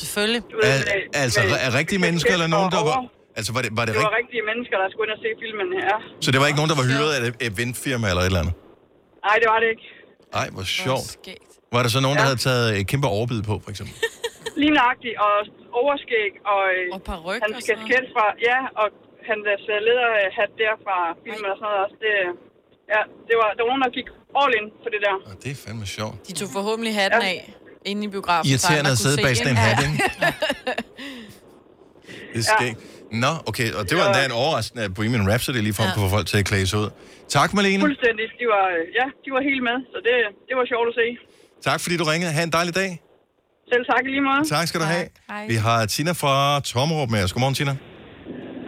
S3: Selvfølgelig.
S15: Du ved, med,
S1: altså,
S15: med-
S1: er rigtige
S15: med
S1: mennesker, eller
S15: kasket
S1: nogen, der
S15: og
S1: var...
S15: over.
S1: Altså, var det, var det,
S15: Det
S1: rigt...
S15: var rigtige mennesker, der skulle ind og se filmen her.
S1: Så det var ikke nogen, der var hyret af et eventfirma eller et eller andet?
S15: Nej, det var det ikke.
S1: Ej, hvor sjovt. Var der så nogen, der havde taget et kæmpe overbid på, for eksempel?
S15: Lige nøjagtigt, og overskæg, og, øh,
S4: og paryk
S15: hans kasket fra, ja, og hans øh, lederhat der fra filmen og sådan noget også. Det, øh, ja, det var, der var nogen, der gik all in på det der.
S1: Det er fandme sjovt.
S4: De tog forhåbentlig hatten af inde i biografen. så
S1: Irriterende
S4: andre
S1: at
S4: kunne
S1: sidde
S4: se
S1: bag
S4: ind.
S1: sådan en hat, ikke? Det
S4: Ja.
S1: skal ikke. Nå, okay, og det var
S15: Ja.
S1: endda en overraskende at Bohemian Rhapsody lige frem
S15: Ja.
S1: kunne få folk til at klæde sig ud. Tak, Malene.
S15: Fuldstændig. De var, øh, ja, de var helt med, så det, det var sjovt at se.
S1: Tak, fordi du ringede. Ha' en dejlig dag.
S15: Selv tak i lige måde.
S1: Tak skal du have.
S15: Hej.
S1: Vi har Tina fra Tommerup med os. Godmorgen, Tina.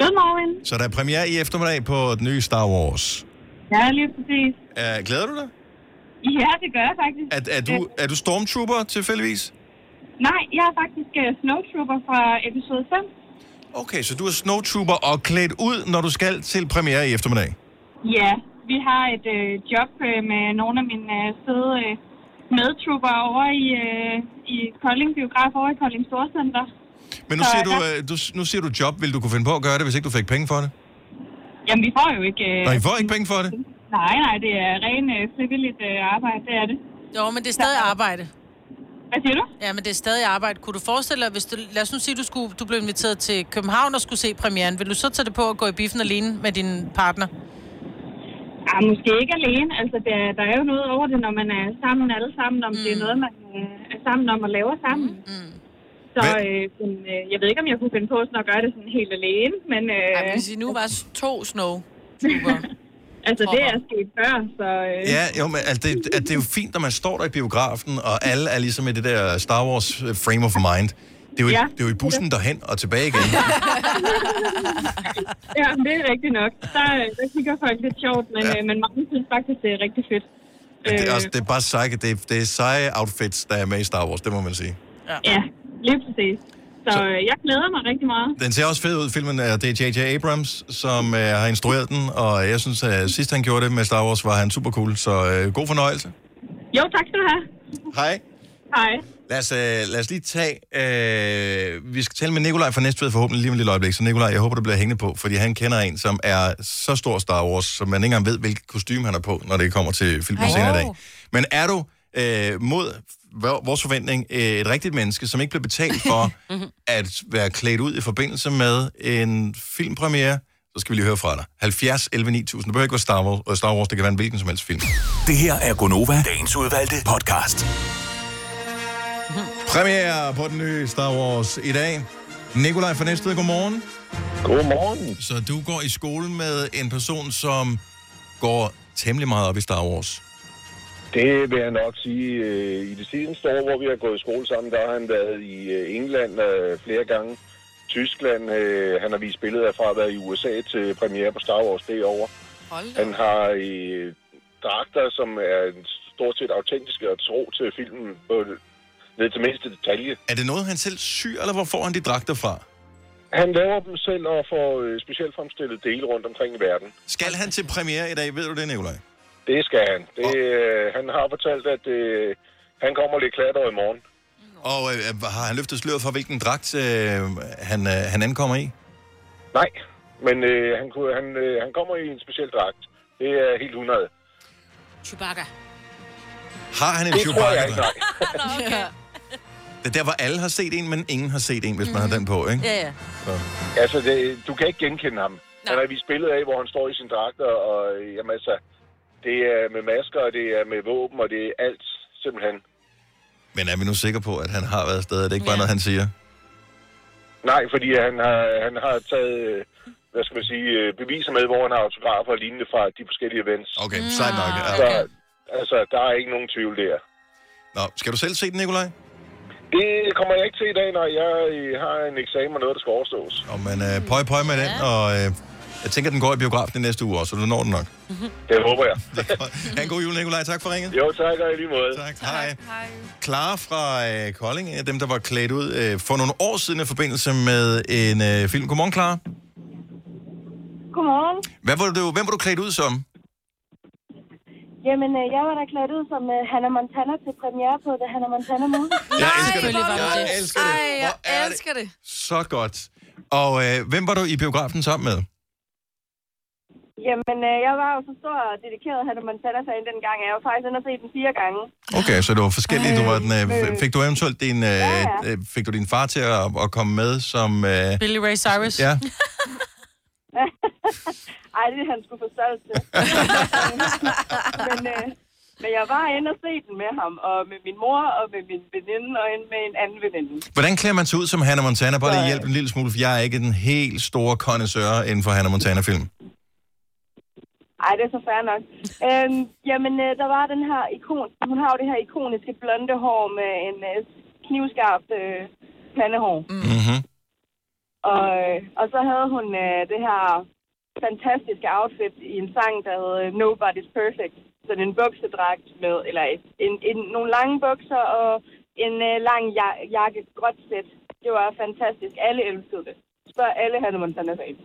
S16: Godmorgen.
S1: Så der er premiere i eftermiddag på den nye Star Wars.
S16: Ja, lige præcis.
S1: Uh, glæder du dig?
S16: Ja, det gør jeg faktisk.
S1: Er, er, du, er du stormtrooper tilfældigvis?
S16: Nej, jeg er faktisk øh, snowtrooper fra episode 5.
S1: Okay, så du er snowtrooper og klædt ud, når du skal til premiere i eftermiddag.
S16: Ja, vi har et øh, job øh, med nogle af mine øh, fede øh, medtrooper over i, øh, i Kolding Biograf, over i Kolding Storcenter.
S1: Men nu
S16: Så
S1: siger, du,
S16: der-
S1: øh, du, nu siger du job. Vil du kunne finde på at gøre det, hvis ikke du fik penge for det?
S16: Jamen, vi får jo ikke... Øh,
S1: Nej, I får ikke penge for det?
S16: Nej, nej, det er ren øh, frivilligt øh, arbejde, det er det.
S3: Jo, men det er stadig arbejde.
S16: Hvad siger du?
S3: Ja, men det er stadig arbejde. Kunne du forestille dig, hvis du, lad os nu sige, du, skulle, du blev inviteret til København og skulle se premieren, vil du så tage det på at gå i biffen alene med din partner?
S16: Ja, Ah, måske ikke alene. Altså, der, der er jo noget over det, når man er sammen alle sammen, om mm. det er noget, man øh, er sammen om og laver sammen. Mm. Så øh, men, øh, jeg ved ikke, om jeg kunne finde på sådan at gøre det sådan helt alene, men... Øh, Ej,
S4: hvis I nu var to snow
S16: Altså, det er sket før, så... Øh,
S1: Ja, jo, men altså, det, at det er jo fint, når man står der i biografen, og alle er ligesom i det der Star Wars øh, frame of mind. Det er jo,
S16: Ja.
S1: ja. det er jo i bussen derhen og tilbage igen.
S16: ja, men det er rigtigt nok. Der, øh, der kigger folk lidt sjovt, men, ja. øh, men mange synes faktisk, det er rigtig fedt.
S1: Men det, er
S16: Øh.
S1: også, det er bare seje, det, er- det er seje outfits, der er med i Star Wars, det må man sige.
S16: Ja. ja, lige præcis. Så øh, jeg glæder mig rigtig meget.
S1: Den ser også fed ud, filmen. er- Det er J.J. Abrams, som øh, har instrueret den, og jeg synes, at sidst han gjorde det med Star Wars, var han super cool. Så øh, god fornøjelse.
S16: Jo, tak skal du have.
S1: Hej.
S16: Hej.
S1: Lad os, øh, lad os lige tage... Øh, vi skal tale med Nikolaj fra Næstved forhåbentlig lige om et lille øjeblik. Så Nikolaj, jeg håber, du bliver hængende på, fordi han kender en, som er så stor Star Wars, så man ikke engang ved, hvilket kostume han er på, når det kommer til filmen
S6: Ej.
S1: senere i dag.
S6: Wow.
S1: Men er du øh, mod v- vores forventning øh, et rigtigt menneske, som ikke bliver betalt for at være klædt ud i forbindelse med en filmpremiere, så skal vi lige høre fra dig. 70 11 9000. Det behøver ikke være Star Wars, og Star Wars det kan være en hvilken som helst film.
S5: Det her er Gonova, dagens udvalgte podcast.
S1: Premiere på den nye Star Wars i dag. Nikolaj fra Næstved, godmorgen. Godmorgen. Så du går i skole med en person, som går temmelig meget op i Star Wars.
S17: Det vil jeg nok sige. øh, I det seneste år, hvor vi har gået i skole sammen, der har han været i øh, England øh, flere gange. Tyskland, øh, han har vist billeder fra at være i USA til premiere på Star Wars derovre. Han har øh, dragter, som er stort set autentiske og tro til filmen, på, ned til mindste detalje.
S1: Er det noget, han selv syr, eller hvor får han de dragter fra?
S17: Han laver dem selv og får øh, specielt fremstillede dele rundt omkring i verden.
S1: Skal han til premiere i dag? Ved du det, Nikolaj?
S17: Det skal han. Det, øh, han har fortalt, at øh, han kommer lidt klatter i morgen.
S1: Og øh, har han løftet sløret for, hvilken dragt øh, han, øh, han ankommer i?
S17: Nej, men øh, han, kunne, han, øh, han kommer i en speciel dragt. Det er helt 100.
S2: Chewbacca.
S1: Har han en
S17: Det tror jeg
S1: Chewbacca?
S17: ikke,
S1: dragt?
S17: nej.
S2: okay.
S1: Det er der, hvor alle har set en, men ingen har set en, hvis man har den på,
S17: Mm-hmm.
S1: ikke?
S2: Ja, ja.
S1: Så.
S17: Altså, det, du kan ikke genkende ham. Nej. Han har vist billeder af, hvor han står i sin dragt, og og, øh, jamen, altså, det er med masker, og det er med våben, og det er alt, simpelthen.
S1: Men er vi nu sikre på, at han har været afsted? Er det ikke bare noget, han siger?
S17: Nej, fordi han har, han har taget, øh, hvad skal man sige, øh, beviser med, hvor han har autografer og lignende fra de forskellige events.
S1: Okay, sejt nok. Ja.
S17: Så, altså, der er ikke nogen tvivl der.
S1: Nå, skal du selv se den, Nikolaj?
S17: Det kommer jeg ikke til i dag, når jeg øh, har en eksamen og noget, der skal overstås.
S1: Og man øh, pøj, pøj med den, og øh, jeg tænker, den går i biografen i næste uge også, så du når den nok.
S17: Det håber jeg.
S1: Ha' en god jul, Nikolaj. Tak for ringet.
S17: Jo, tak, og i lige måde.
S1: Tak, hej. Clara fra øh, Kolding, en af dem, der var klædt ud øh, for nogle år siden i forbindelse med en øh, film. Godmorgen, Clara.
S16: Godmorgen.
S1: Hvad var du, hvem var du klædt ud som?
S10: Jamen, øh, jeg var da klædt ud som uh, Hannah Montana til premiere på The Hannah Montana Movie.
S1: Jeg elsker det.
S4: hvor var
S1: Jeg
S4: det.
S1: elsker det.
S4: Ej, jeg
S1: Hvor er det
S4: elsker det.
S1: Så godt. Og øh, hvem var du i biografen sammen med?
S10: Jamen, øh, jeg var jo så stor og dedikeret Hannah Montana-fan dengang. Jeg var faktisk inde og se den fire gange.
S1: Okay, så det var forskelligt. Du var den,
S10: øh.
S1: øh, fik du eventuelt din, øh, øh, fik du din far til at, at komme med som... Øh,
S3: Billy Ray Cyrus.
S1: ja.
S10: Ej, det er han skulle få stolt til. men, øh, men jeg var inde og se den med ham, og med min mor, og med min veninde, og en- med en anden veninde.
S1: Hvordan klæder man sig ud som Hannah Montana? Bare lige hjælp en lille smule, for jeg er ikke den helt store connoisseur inden for Hannah Montana-film.
S10: Ej, det er så fair nok. Øhm, jamen, øh, der var den her ikon. Hun har jo det her ikoniske blonde hår med en øh, knivskarpt øh, pandehår.
S1: Mm-hmm.
S10: Og, øh, og så havde hun øh, det her fantastiske outfit i en sang, der hed øh, Nobody's Perfect. Sådan en buksedragt med, eller et- en, en, nogle lange bukser og en øh, lang ja- jakke, gråt sæt. Det var fantastisk. Alle elskede det. Spørg alle havde man sådan fan.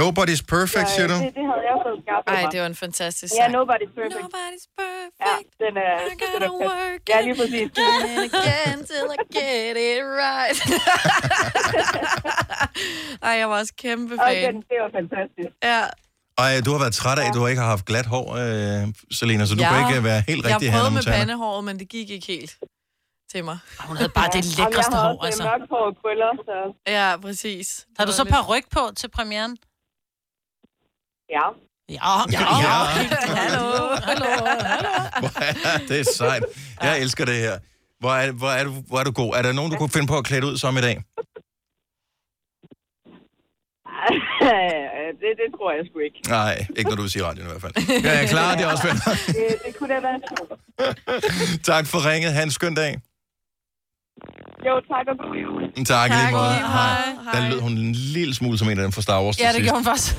S1: Nobody's Perfect,
S10: Så, øh,
S1: siger du?
S10: Det, det havde jeg fået skabt.
S4: Ej, det var en fantastisk
S10: Ja,
S4: sang.
S10: Nobody's Perfect. Nobody's Perfect. Ja, den er... Den er perfekt. ja, lige præcis.
S4: Again, again, till I get it right. Ej, jeg var også kæmpe
S10: Og
S4: fan.
S10: den, det var fantastisk.
S4: Ja.
S1: Og øh, du har været træt af, at du ikke har haft glat hår, øh, Selena, så du
S4: Ja.
S1: kan ikke øh, være helt rigtig
S4: Jeg
S1: Hannah
S4: prøvede med
S1: Montana.
S4: pandehåret, men det gik ikke helt til mig.
S3: Hun havde bare det
S10: Jamen, jeg
S3: lækreste
S10: har
S3: hår,
S10: også
S3: altså.
S10: øh, mørkt hår og krøller, så...
S4: Ja, præcis.
S3: Har du så par ryg på til premieren?
S10: Ja.
S3: Ja, ja, ja. Hallo, hallo.
S1: det er sejt. Jeg elsker det her. Hvor er, hvor, er du, hvor er du god? Er der nogen, du kunne finde på at klæde ud som i dag?
S18: Øh, det, det tror jeg sgu ikke.
S1: Nej, ikke når du vil sige radioen i hvert fald. Ja, jeg er klar, det er også fedt.
S18: det,
S8: Øh,
S18: det kunne da være sjovt.
S1: Tak for ringet. Ha' en skøn dag.
S18: Jo, tak og god jul.
S1: Tak, Mm, tak lige måde.
S18: lige måde.
S1: Hej. Der lød hun en lille smule som en af dem fra Star Wars til
S3: Ja, det
S1: sidst.
S3: gjorde hun faktisk.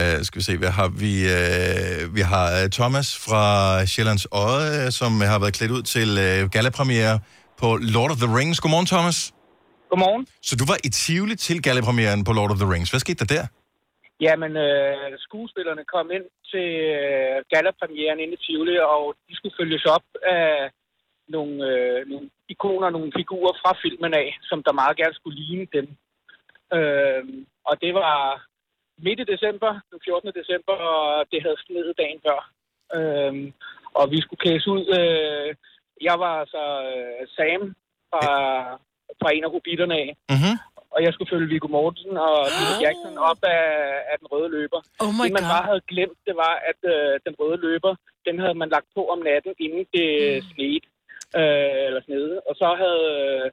S1: Uh, skal vi se, hvad har vi? Uh, vi har øh, Thomas fra Sjællands Odde, øh, som har været klædt ud til uh, gallapremiere på Lord of the Rings. Godmorgen, Thomas.
S14: Godmorgen.
S1: Så du var i Tivoli til gallapremieren på Lord of the Rings. Hvad skete der der?
S14: Jamen, øh, skuespillerne kom ind til øh, gallapremieren inde i Tivoli, og de skulle følges op af nogle, øh, nogle ikoner, nogle figurer fra filmen af, som der meget gerne skulle ligne dem. Øh, og det var midt i december, den 14. december, og det havde sneet dagen før. Øh, og vi skulle klædes ud. Øh, jeg var så øh, Sam fra, fra en af hobitterne af,
S1: Mm-hmm.
S14: og jeg skulle følge Viggo Mortensen og Peter Jackson op af, af den røde løber.
S3: Oh
S14: det, man bare havde glemt, det var, at øh, den røde løber, den havde man lagt på om natten, inden det mm. snede. Øh, eller snede. Og så havde øh,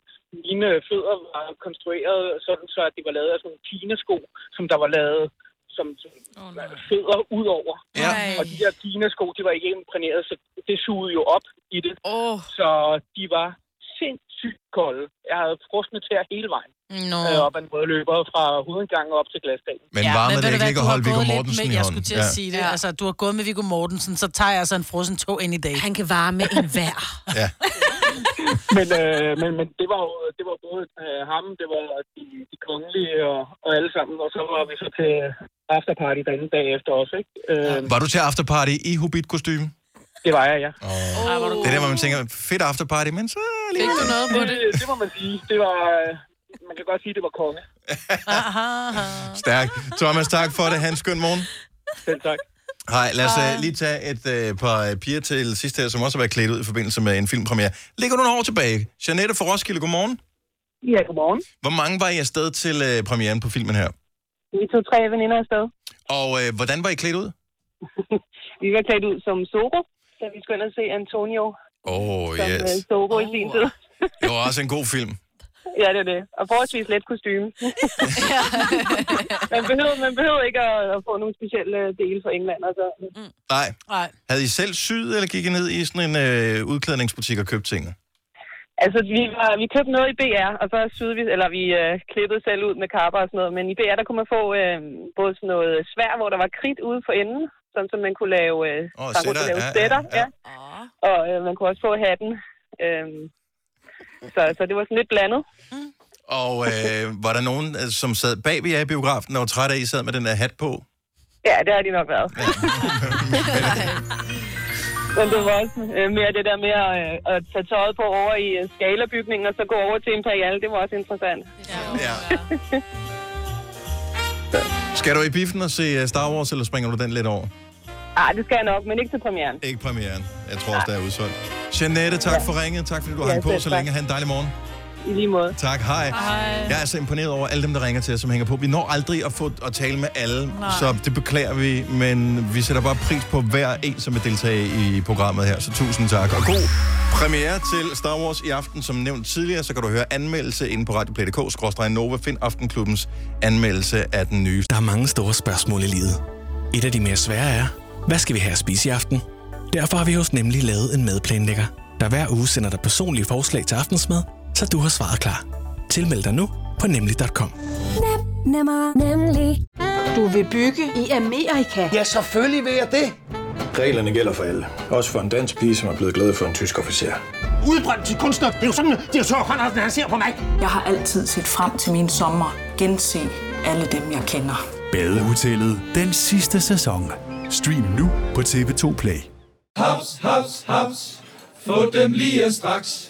S14: mine fødder var konstrueret sådan, så at de var lavet af sådan nogle kinesko, som der var lavet som, som oh, fødder ud over.
S1: Ja.
S14: Og de der kinesko, de var ikke imprægneret, så det sugede jo op i det.
S3: Oh.
S14: Så de var sindssygt kolde. Jeg havde frosne tæer hele vejen
S3: Nå.
S14: øh, op ad en rød løber fra hovedindgangen og op til glasdagen.
S1: Men ja, varmede
S3: ved
S1: det
S3: du
S1: ikke
S3: hvad,
S1: ikke at
S3: du har
S1: holde Viggo
S3: gået lidt
S1: Mortensen
S3: med,
S1: i
S3: Jeg
S1: hånden?
S3: skulle til at
S1: Ja.
S3: sige det. Altså, du har gået med Viggo Mortensen, så tager jeg altså en frossen tog ind i dag. Han kan varme en vær.
S14: men, øh, men, men det var jo det var både øh, ham, det var de, de kongelige og, og alle sammen, og så var vi så til afterparty den anden dag efter også, ikke? Øh,
S1: Var du til afterparty i Hobbit-kostyme?
S14: Det var jeg, ja.
S1: Oh. Det er der, hvor man tænker, fedt afterparty, men så...
S14: Fik du noget på det? Det må man sige. Det var, øh, man kan godt sige, det var konge.
S1: Stærkt. Thomas, tak for det. Ha' en skøn morgen.
S14: Selv tak.
S1: Hej, lad os uh, lige tage et uh, par piger til sidst her, som også har været klædt ud i forbindelse med en filmpremiere. Ligger du nogle år tilbage? Janette fra Roskilde, godmorgen.
S19: Ja, godmorgen.
S1: Hvor mange var I afsted til uh, premieren på filmen her?
S19: Vi tog tre veninder afsted.
S1: Og uh, hvordan var I klædt ud?
S19: Vi var klædt ud som Zorro, da vi skulle ind og se Antonio
S1: Åh, oh,
S19: som
S1: yes.
S19: øh, Zorro i sin tid.
S1: Det var også en god film.
S19: Ja, det er det. Og forholdsvis let kostume. man, behøver, man behøver ikke at, at få nogle specielle dele fra England. Altså. Mm.
S1: Nej.
S3: Nej.
S1: Havde I selv syet, eller gik I ned i sådan en øh, udklædningsbutik og købte tingene?
S19: Altså, vi, var, vi købte noget i BR, og så syede vi, eller vi øh, klippede selv ud med kapper og sådan noget. Men i BR, der kunne man få øh, både sådan noget svær, hvor der var kridt ude for enden, sådan som man kunne lave, øh,
S1: Åh,
S19: man
S1: sætter,
S19: kunne lave
S1: ja, ja,
S19: sætter. Ja, ja. Og øh, man kunne også få hatten. Øh, så, så det var sådan lidt blandet.
S1: Og øh, var der nogen, øh, som sad bag ved jer i biografen og var træt af, at I sad med den der hat på?
S19: Ja, det har de nok været. Men det var også øh, mere det der med at, øh, at tage tøjet på over i øh, skalabygningen, og så gå over til Imperial. Det var også interessant.
S1: Ja. Skal du i biffen og se øh, Star Wars, eller springer du den lidt over?
S19: Ah, det skal jeg nok, men ikke til premieren.
S1: Ikke premieren. Jeg tror også, der er udsolgt. Jeanette, tak for ringet. Tak fordi du har
S19: Ja,
S1: hang på
S19: selv
S1: så
S19: tak.
S1: længe. Ha' en dejlig morgen.
S19: I lige måde.
S1: Tak, hej. Jeg er så imponeret over alle dem, der ringer til os, som hænger på. Vi når aldrig at få at tale med alle, Nej.
S20: Nej.
S1: så det beklager vi, men vi sætter bare pris på hver en, som vil deltage i programmet her. Så tusind tak, og god premiere til Star Wars i aften. Som nævnt tidligere, så kan du høre anmeldelse inde på radioplay.dk-nova. Find Aftenklubbens anmeldelse af den nye.
S9: Der er mange store spørgsmål i livet. Et af de mere svære er, hvad skal vi have at spise i aften? Derfor har vi hos Nemlig lavet en madplanlægger, der hver uge sender dig personlige forslag til aftensmad, så du har svaret klar. Tilmeld dig nu på nemlig.com.
S21: Nemmer, nemlig. Du vil bygge i Amerika? Ja, selvfølgelig vil jeg det.
S22: Reglerne gælder for alle. Også for en dansk pige, som er blevet glad for en tysk officer.
S23: Udbrændt til kunstner. Det er jo sådan, at de har tørt, han ser på mig. Jeg har altid set frem til min sommer. Gense alle dem, jeg kender.
S24: Badehotellet den sidste sæson. Stream nu på TV2 Play.
S11: Haps, haps, haps. Få dem lige straks.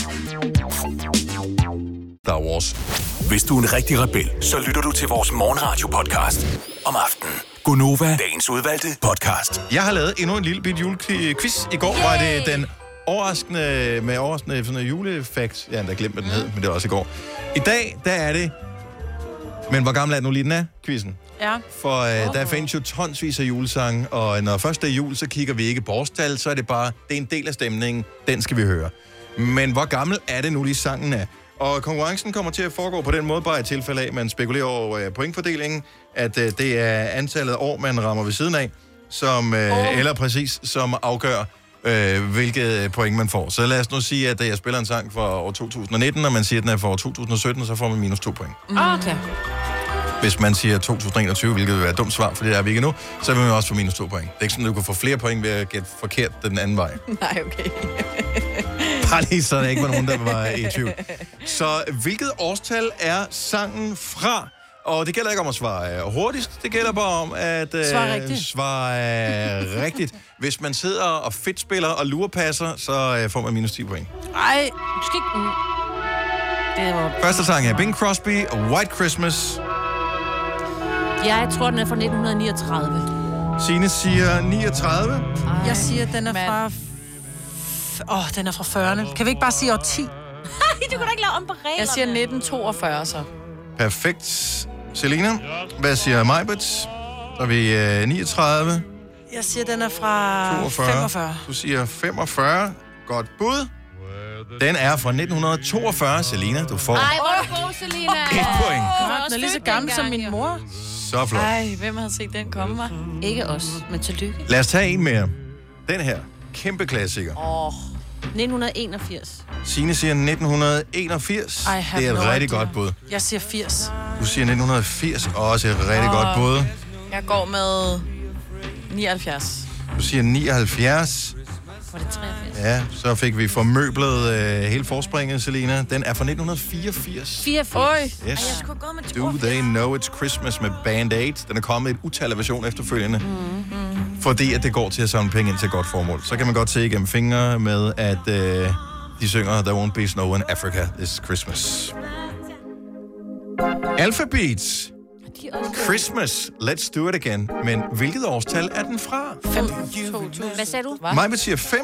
S1: Star Wars.
S5: Hvis du er en rigtig rebel, så lytter du til vores morgenradio-podcast om aftenen. Gunova, dagens udvalgte podcast.
S1: Jeg har lavet endnu en lille bit julequiz. I går var det den overraskende, med overraskende sådan en julefakt. Jeg har endda glemt, hvad den hed, men det var også i går. I dag, der er det... Men hvor gammel er den nu lige, den er, quizzen?
S3: Ja.
S1: For øh, der findes jo tonsvis af julesange, og når først det er jul, så kigger vi ikke på årstal, så er det bare, det er en del af stemningen, den skal vi høre. Men hvor gammel er det nu lige sangen er? Og konkurrencen kommer til at foregå på den måde, bare i tilfælde af, at man spekulerer over øh, pointfordelingen, at øh, det er antallet af år, man rammer ved siden af, som, øh, oh. eller præcis, som afgør, øh, hvilket point man får. Så lad os nu sige, at øh, jeg spiller en sang fra år 2019, og man siger, at den er fra år 2017, så får man minus to point.
S4: Mm.
S3: Ah,
S2: Okay.
S1: Hvis man siger 2021, hvilket vil være et dumt svar, for det er vi ikke nu, så vil man også få minus to point. Det er ikke sådan, at du kan få flere point ved at gætte forkert den anden vej.
S4: Nej, okay.
S1: Bare lige så der ikke var nogen, der var i tvivl. Så hvilket årstal er sangen fra? Og det gælder ikke om at svare øh, hurtigst, det gælder bare om at øh,
S7: Svare rigtigt.
S1: svare øh, rigtigt. Hvis man sidder og fedtspiller og lurepasser, så øh, får man minus 10 point.
S3: Ej, du skal ikke... Mm. Det var...
S1: Første sang er Bing Crosby, White Christmas.
S2: Ja, jeg tror, den er fra 1939.
S1: Sine siger 39.
S3: Ej, jeg siger, at den er fra... f- Åh, oh, den er fra 40'erne. Kan vi ikke bare sige år 10?
S2: du kan da ikke lave om på reglerne.
S4: Jeg siger 1942, så.
S1: Perfekt. Selina, hvad siger Majbert? Så er vi øh, 39,
S3: Jeg siger, den er
S4: Ah,
S3: fra
S1: 42.
S3: 45.
S1: Du siger 45. Godt bud. Den er fra 1942, Selina. Du får
S4: Ej,
S2: hvor er du god, Selina.
S1: Et point.
S4: Godt,
S3: Den er lige så gammel som min mor.
S1: så flot.
S4: Ej, hvem havde set den komme, mig?
S2: Ikke os, men tillykke.
S1: Lad os tage en mere. Den her. Kæmpe klassiker.
S2: Åh. Oh. 1981.
S1: Signe siger 1981.
S3: I have
S1: det er et
S3: no
S1: rigtig
S3: idea.
S1: godt bud.
S3: Jeg siger 80.
S1: Du siger 1980. Også et rigtig
S4: Åh.
S1: godt bud.
S4: Jeg går med 79.
S1: Du siger 79.
S2: Var det 83?
S1: Ja, så fik vi formøblet øh, hele forspringet, Selina. Den er fra 1984.
S2: 84.
S4: Oj.
S1: Yes. Ej, jeg skulle gå med Do They Know It's Christmas med Band Aid. Den er kommet i et utal af version efterfølgende. Mm-hmm. Fordi at det går til at samle penge ind til et godt formål. Så kan man godt se igennem fingre med, at øh, de synger There Won't Be Snow in Africa This Christmas. Alpha Beats. Christmas. Let's do it again. Men hvilket årstal er den fra?
S3: 5.
S2: Hvad sagde du?
S1: Mig vil sige 5.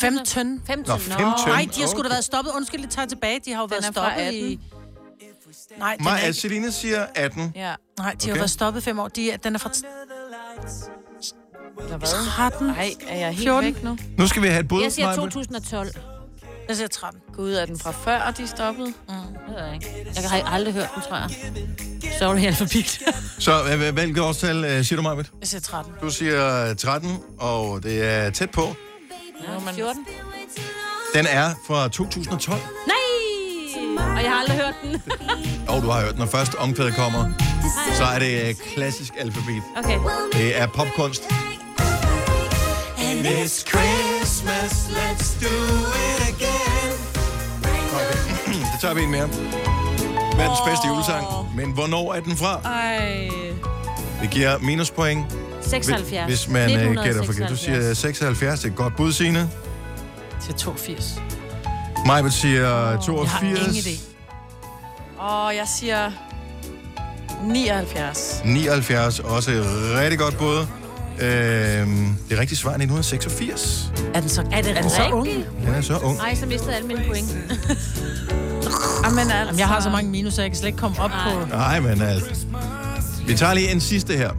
S3: 5 tøn.
S2: 5
S1: Nå, fem tøn.
S3: Nej, de har sgu da
S1: Okay.
S3: været stoppet. Undskyld, jeg tager tilbage. De har jo været
S4: er fra
S3: stoppet i... Nej, den
S1: Mig,
S3: er ikke...
S1: Selina siger 18.
S4: Ja.
S3: Nej, de har
S1: Okay.
S3: været stoppet fem år. De er... Den er fra...
S4: Eller hvad?
S3: 13.
S4: Nej, er jeg helt
S3: 14.
S4: væk nu?
S1: Nu skal vi have et bud.
S4: Jeg siger
S1: Maj-Brit.
S2: 2012.
S3: Jeg siger 13.
S4: Gud, er den fra før, og de er stoppet? Mm.
S2: Det ved jeg ikke. Jeg har aldrig hørt den, tror jeg. Sorry, jeg er forbi.
S1: Så øh, hvad- hvilket årstal øh, siger du, Maja?
S3: Jeg siger 13.
S1: Du siger øh, 13, og det er tæt på.
S2: Nå, men... 14.
S1: Den er fra 2012.
S2: Nej! Og jeg har aldrig hørt den.
S1: Og du har hørt, når først omkvædet kommer, så er det øh, klassisk alfabet.
S2: Okay.
S1: Det er popkunst.
S7: And it's Christmas, let's do it again.
S1: Det tager vi en mere. Verdens bedste julesang. Men hvornår er den fra?
S2: Ej.
S1: Det giver minuspoint. hvis-
S2: 76.
S1: Hvis man øh, gætter forkert. Du siger
S2: 1976.
S1: 76. Det er et godt bud, Signe.
S3: Til 82.
S1: Majbet siger
S4: Jeg har
S1: 82.
S4: ingen idé. Åh, jeg siger 79.
S1: 79, også et rigtig godt bud. Øhm, det rigtige svar er 1986.
S3: Er den så,
S2: er det, er den så ung?
S1: Den er så ung.
S2: Nej, så mistede jeg alle mine point.
S3: Jamen, altså... Jeg har så mange minus, at jeg kan slet ikke komme op på...
S1: Nej, men altså. Vi tager lige en sidste her.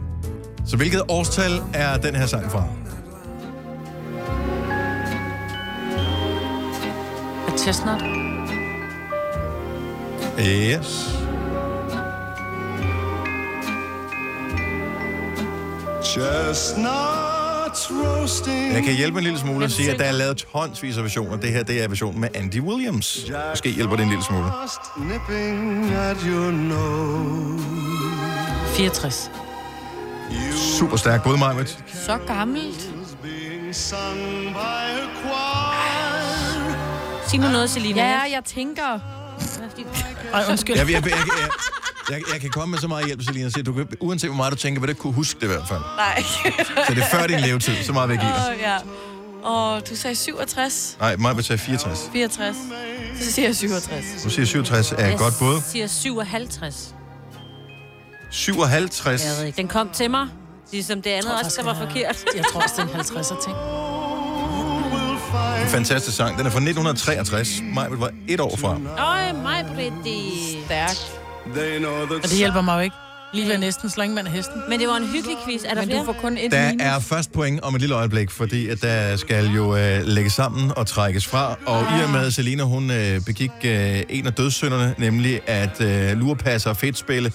S1: Så hvilket årstal er den her sang fra?
S3: Er chestnut?
S1: Yes.
S7: Chestnuts roasting.
S1: Jeg kan hjælpe en lille smule og sige, at der er lavet tonsvis af versioner. Det her, det er versionen med Andy Williams. Måske hjælper det en lille smule.
S7: Just nipping at your nose.
S3: 64.
S1: Super stærk både mig,
S4: Så gammelt.
S2: Sig nu noget, Selina.
S4: Ja, jeg tænker...
S1: Jeg, jeg, jeg, jeg, Jeg, jeg kan komme med så meget hjælp, Selina, så du kan, uanset hvor meget du tænker på det, kunne huske det i hvert fald.
S4: Nej.
S1: Så det er før din levetid, så meget vil jeg give dig.
S4: Åh, ja. Åh, du sagde 67.
S1: Nej, mig vil tage 64.
S4: 64. Så siger jeg 67.
S1: Du siger 67 er et godt både.
S2: siger 57.
S1: 57.
S2: Jeg ved ikke. Den kom til mig, ligesom det andet også, der var forkert.
S3: Jeg tror også, det er en 50'er ting.
S1: En fantastisk sang. Den er fra 1963. Maj var et år fra.
S2: Øj, mig, Britt, Stærkt.
S3: Og det hjælper mig jo ikke. Lige ved næsten, så længe man er hesten.
S2: Men det var en hyggelig quiz. Er der flere?
S4: får kun et
S1: Der er først point om et lille øjeblik, fordi at der skal jo øh, lægges sammen og trækkes fra. Og i og med,
S2: Ah.
S1: at Selina hun øh, begik øh, en af dødssynderne, nemlig at øh, lurepasser og fedtspille,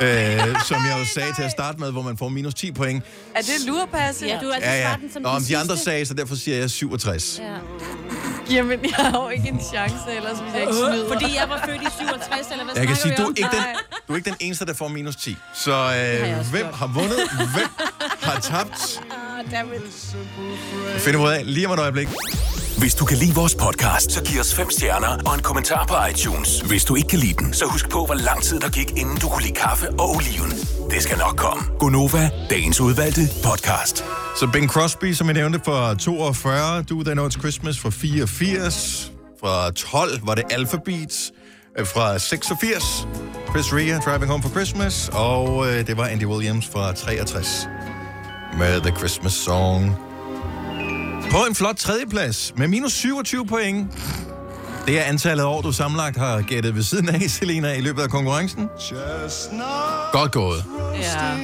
S1: øh, som jeg jo sagde til at starte med, hvor man får minus 10 point.
S4: Er det lurepasse? Ja, du er altså
S1: Nå, om de andre sagde, så derfor siger jeg 67.
S4: Ja. Jamen, jeg har jo ikke en chance ellers, hvis Øh, jeg ikke snyder.
S2: Fordi jeg var født i 67, eller hvad
S1: Jeg kan sige,
S2: snakker
S1: du
S2: vi
S1: er,
S2: om?
S1: ikke den,
S2: Nej.
S1: du er ikke den eneste, der får minus 10. Så øh, hvem har vundet? Hvem har tabt? Det finder vi ud af lige om et øjeblik.
S5: Hvis du kan lide vores podcast, så giv os fem stjerner og en kommentar på iTunes. Hvis du ikke kan lide den, så husk på, hvor lang tid der gik, inden du kunne lide kaffe og oliven. Det skal nok komme.
S1: Gonova, dagens udvalgte podcast. Så Bing Crosby, som jeg nævnte, fra 42, Do They Know It's Christmas fra 84, fra 12 var det Alphabet, øh, fra 86, Chris Rea, Driving Home for Christmas, og øh, det var Andy Williams fra 63 med The Christmas Song. På en flot tredjeplads med minus 27 point. Det er antallet af år, du sammenlagt har gættet ved siden af, Selina, i løbet af konkurrencen. Godt gået.
S7: Ja.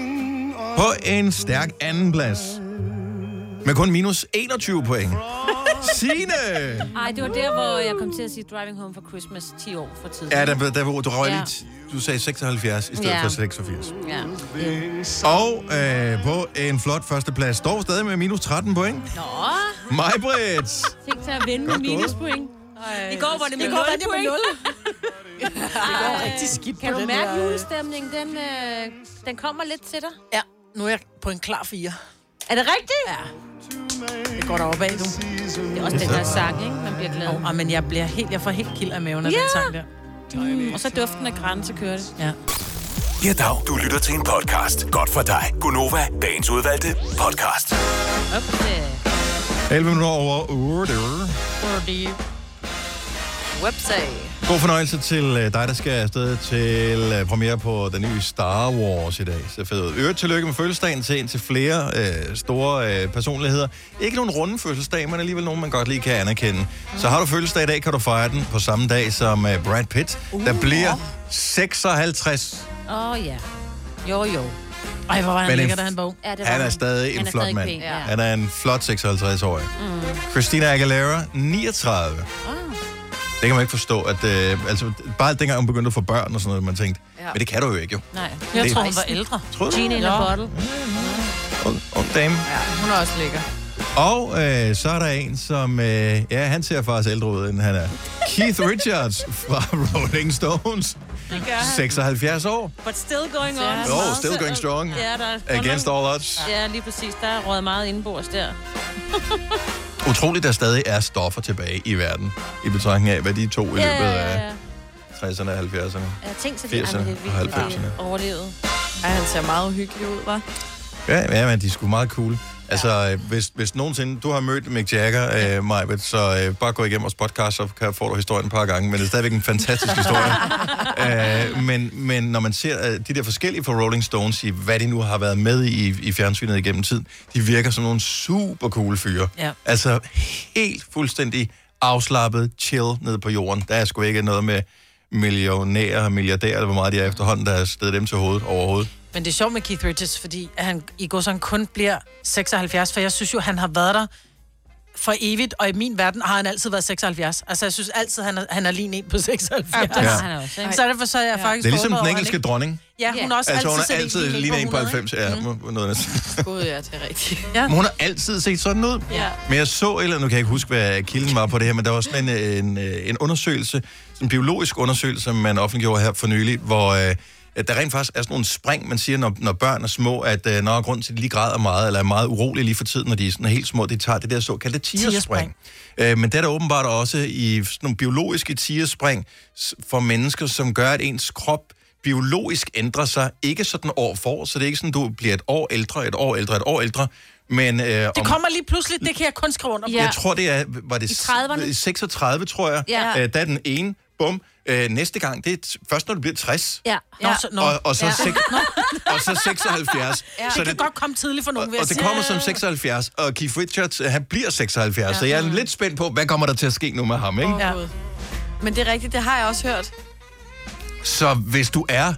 S1: På en stærk anden plads. Med kun minus 21 point. Signe!
S2: Ej, det var der, hvor jeg kom til at sige Driving Home for Christmas 10 år for tidligt.
S1: Ja, der, der, der du røg
S2: Ja.
S1: lige... Du sagde 76 i stedet
S2: Ja.
S1: for 86.
S2: Ja.
S1: Og øh, på en flot førsteplads står stadig med minus 13 point.
S2: Nå,
S1: Majbrits!
S2: tænk til at vinde med
S1: Godt gået.
S2: minuspoint. I går var det med
S3: I går var det med
S2: 0
S3: nul.
S2: Det
S3: går rigtig skidt
S2: Kan
S3: på
S2: du
S3: den
S2: mærke
S3: der, øh,
S2: julestemningen? Den, øh, den kommer lidt til dig.
S3: Ja, nu er jeg på en klar fire.
S2: Er det rigtigt? Ja.
S3: Det går deroppe af, du.
S2: Det er også den her sang, ikke? Man bliver glad.
S3: Oh, men jeg bliver helt, jeg får helt kild af maven af ja. den
S2: Ja.
S3: sang der.
S2: Mm, og så duften af grænse kører det.
S3: Ja.
S5: Ja, dag. Du lytter til en podcast. Godt for dig. Gonova, dagens udvalgte podcast.
S2: Okay.
S1: 11 minutter over 8.
S3: Fordi...
S4: Website.
S1: God fornøjelse til øh, dig, der skal afsted til øh, premiere på den nye Star Wars i dag. Så fedt. ud. I Øvrigt tillykke med fødselsdagen til en til flere øh, store øh, personligheder. Ikke nogen runde fødselsdag, men alligevel nogen, man godt lige kan anerkende. Så har du fødselsdag i dag, kan du fejre den på samme dag som øh, Brad Pitt, uh, der bliver 56.
S2: Åh, oh, ja. Jo, jo.
S3: Ej, hvor var
S1: Men en-
S3: han lækker, da han var ung.
S2: Ja, det var
S1: Han er stadig
S2: Han
S1: en
S2: er
S1: flot
S2: stadig
S1: mand.
S2: pæn, ja.
S1: Han er en flot 56-årig.
S2: Mm.
S1: Christina Aguilera, 39.
S2: Ah.
S1: Det kan man ikke forstå. At, øh, altså, bare dengang hun begyndte at få børn og sådan noget, man tænkte,
S2: Ja.
S1: ja. men det kan du jo ikke jo.
S2: Nej.
S1: Jeg tror,
S2: hun var
S3: ældre.
S1: Tror du?
S2: Gin in a
S1: Ja.
S2: bottle.
S1: Ung dame.
S4: Ja, hun er også lækker.
S1: Og øh, så er der en, som... Øh, ja, han ser faktisk ældre ud, end han er. Keith Richards fra Rolling Stones.
S2: Det gør han.
S1: 76 år.
S2: But still going on.
S1: Jo, still going strong.
S2: Ja, der er godt
S1: Against
S2: nok-
S1: all odds.
S2: Ja, lige præcis. Der er røget meget indenbords der.
S1: Utroligt, der stadig er stoffer tilbage i verden, i betragtning af, hvad de to i løbet af 60'erne og 70'erne.
S2: Jeg tænkte så, de
S1: 80'erne
S2: andre det
S1: og
S2: er vildt, det
S1: 90'erne.
S2: overlevede.
S4: Ej, han ser meget uhyggelig ud, var.
S1: Ja, ja, men de er sgu meget cool. Altså, ja. hvis, hvis nogensinde du har mødt Mick Jagger, øh, Majbet, så øh, bare gå igennem vores podcast, så kan, får du historien et par gange, men det er stadigvæk en fantastisk historie. øh, men, men når man ser øh, de der forskellige fra Rolling Stones, i hvad de nu har været med i, i fjernsynet igennem tiden, de virker som nogle super cool fyre.
S3: Ja.
S1: Altså, helt fuldstændig afslappet, chill nede på jorden. Der er sgu ikke noget med millionærer og milliardærer, eller hvor meget de er efterhånden, der er stedet dem til hovedet overhovedet.
S3: Men det er sjovt med Keith Richards, fordi at han i går sådan kun bliver 76, for jeg synes jo, han har været der for evigt, og i min verden har han altid været 76. Altså, jeg synes altid, han er, han er lige en på 76.
S1: Ja, det har han
S2: også, ikke?
S3: Så er det for, så er jeg
S1: Det
S3: faktisk
S1: er ligesom
S3: forundret
S1: den
S3: over,
S1: engelske
S3: han ikke-
S1: dronning.
S3: Ja, hun er også
S1: altså, hun
S3: altid,
S1: er altid lige en på 90. Ja, mm. noget næsten.
S4: Gud, ja, det er rigtigt.
S3: Ja.
S1: Men hun har altid set sådan ud.
S4: Ja.
S1: Men jeg så, eller nu kan jeg ikke huske, hvad kilden var på det her, men der var sådan en, øh, en, øh, en undersøgelse, sådan en biologisk undersøgelse, som man offentliggjorde her for nylig, hvor øh, at der rent faktisk er sådan nogle spring, man siger, når, når børn er små, at øh, når grund til, at de lige græder meget, eller er meget urolige lige for tiden, når de er sådan helt små, de tager det der såkaldte tierspring. Øh, men det er der åbenbart også i sådan nogle biologiske tierspring s- for mennesker, som gør, at ens krop biologisk ændrer sig, ikke sådan år for år, så det er ikke sådan, du bliver et år ældre, et år ældre, et år ældre, men... Øh, det
S3: Det kommer lige pludselig, det kan jeg kun skrive under på.
S1: Ja. Jeg tror, det er... Var det
S3: I 30'erne?
S1: 36, tror jeg.
S3: Ja.
S1: Øh, der er den ene, bum. Øh, næste gang, det er t- først, når du bliver 60.
S2: Ja.
S3: Nå, så- nå.
S1: Og, og, så
S3: Ja.
S1: seks, og så 76.
S3: Ja.
S1: Så
S3: det kan
S1: det,
S3: godt komme tidligt for nogen, vil jeg
S1: og det
S3: sige.
S1: kommer som 76, og Keith Richards, øh, han bliver 76, ja. så jeg er lidt spændt på, hvad kommer der til at ske nu med ham, ikke?
S4: Ja. Men det er rigtigt, det har jeg også hørt.
S1: Så hvis du er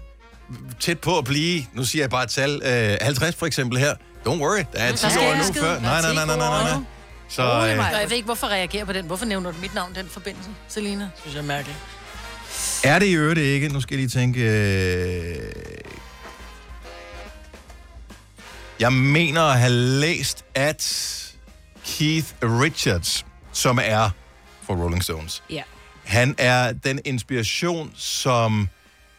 S1: tæt på at blive, nu siger jeg bare et tal, øh, 50 for eksempel her, don't worry, der er 10
S3: sker
S1: år
S3: ikke
S1: nu
S3: skid.
S1: før.
S3: Mm. Der
S1: Nej,
S3: er
S1: nej,
S3: 10
S1: nej, nej, nej, nej. Så, øh,
S3: Og jeg ved ikke, hvorfor jeg reagerer på den. Hvorfor nævner du mit navn i den forbindelse, Selina? Synes jeg er mærkeligt.
S1: Er det i øvrigt ikke? Nu skal jeg lige tænke... Øh... Jeg mener at have læst, at Keith Richards, som er for Rolling Stones,
S2: Ja.
S1: han er den inspiration, som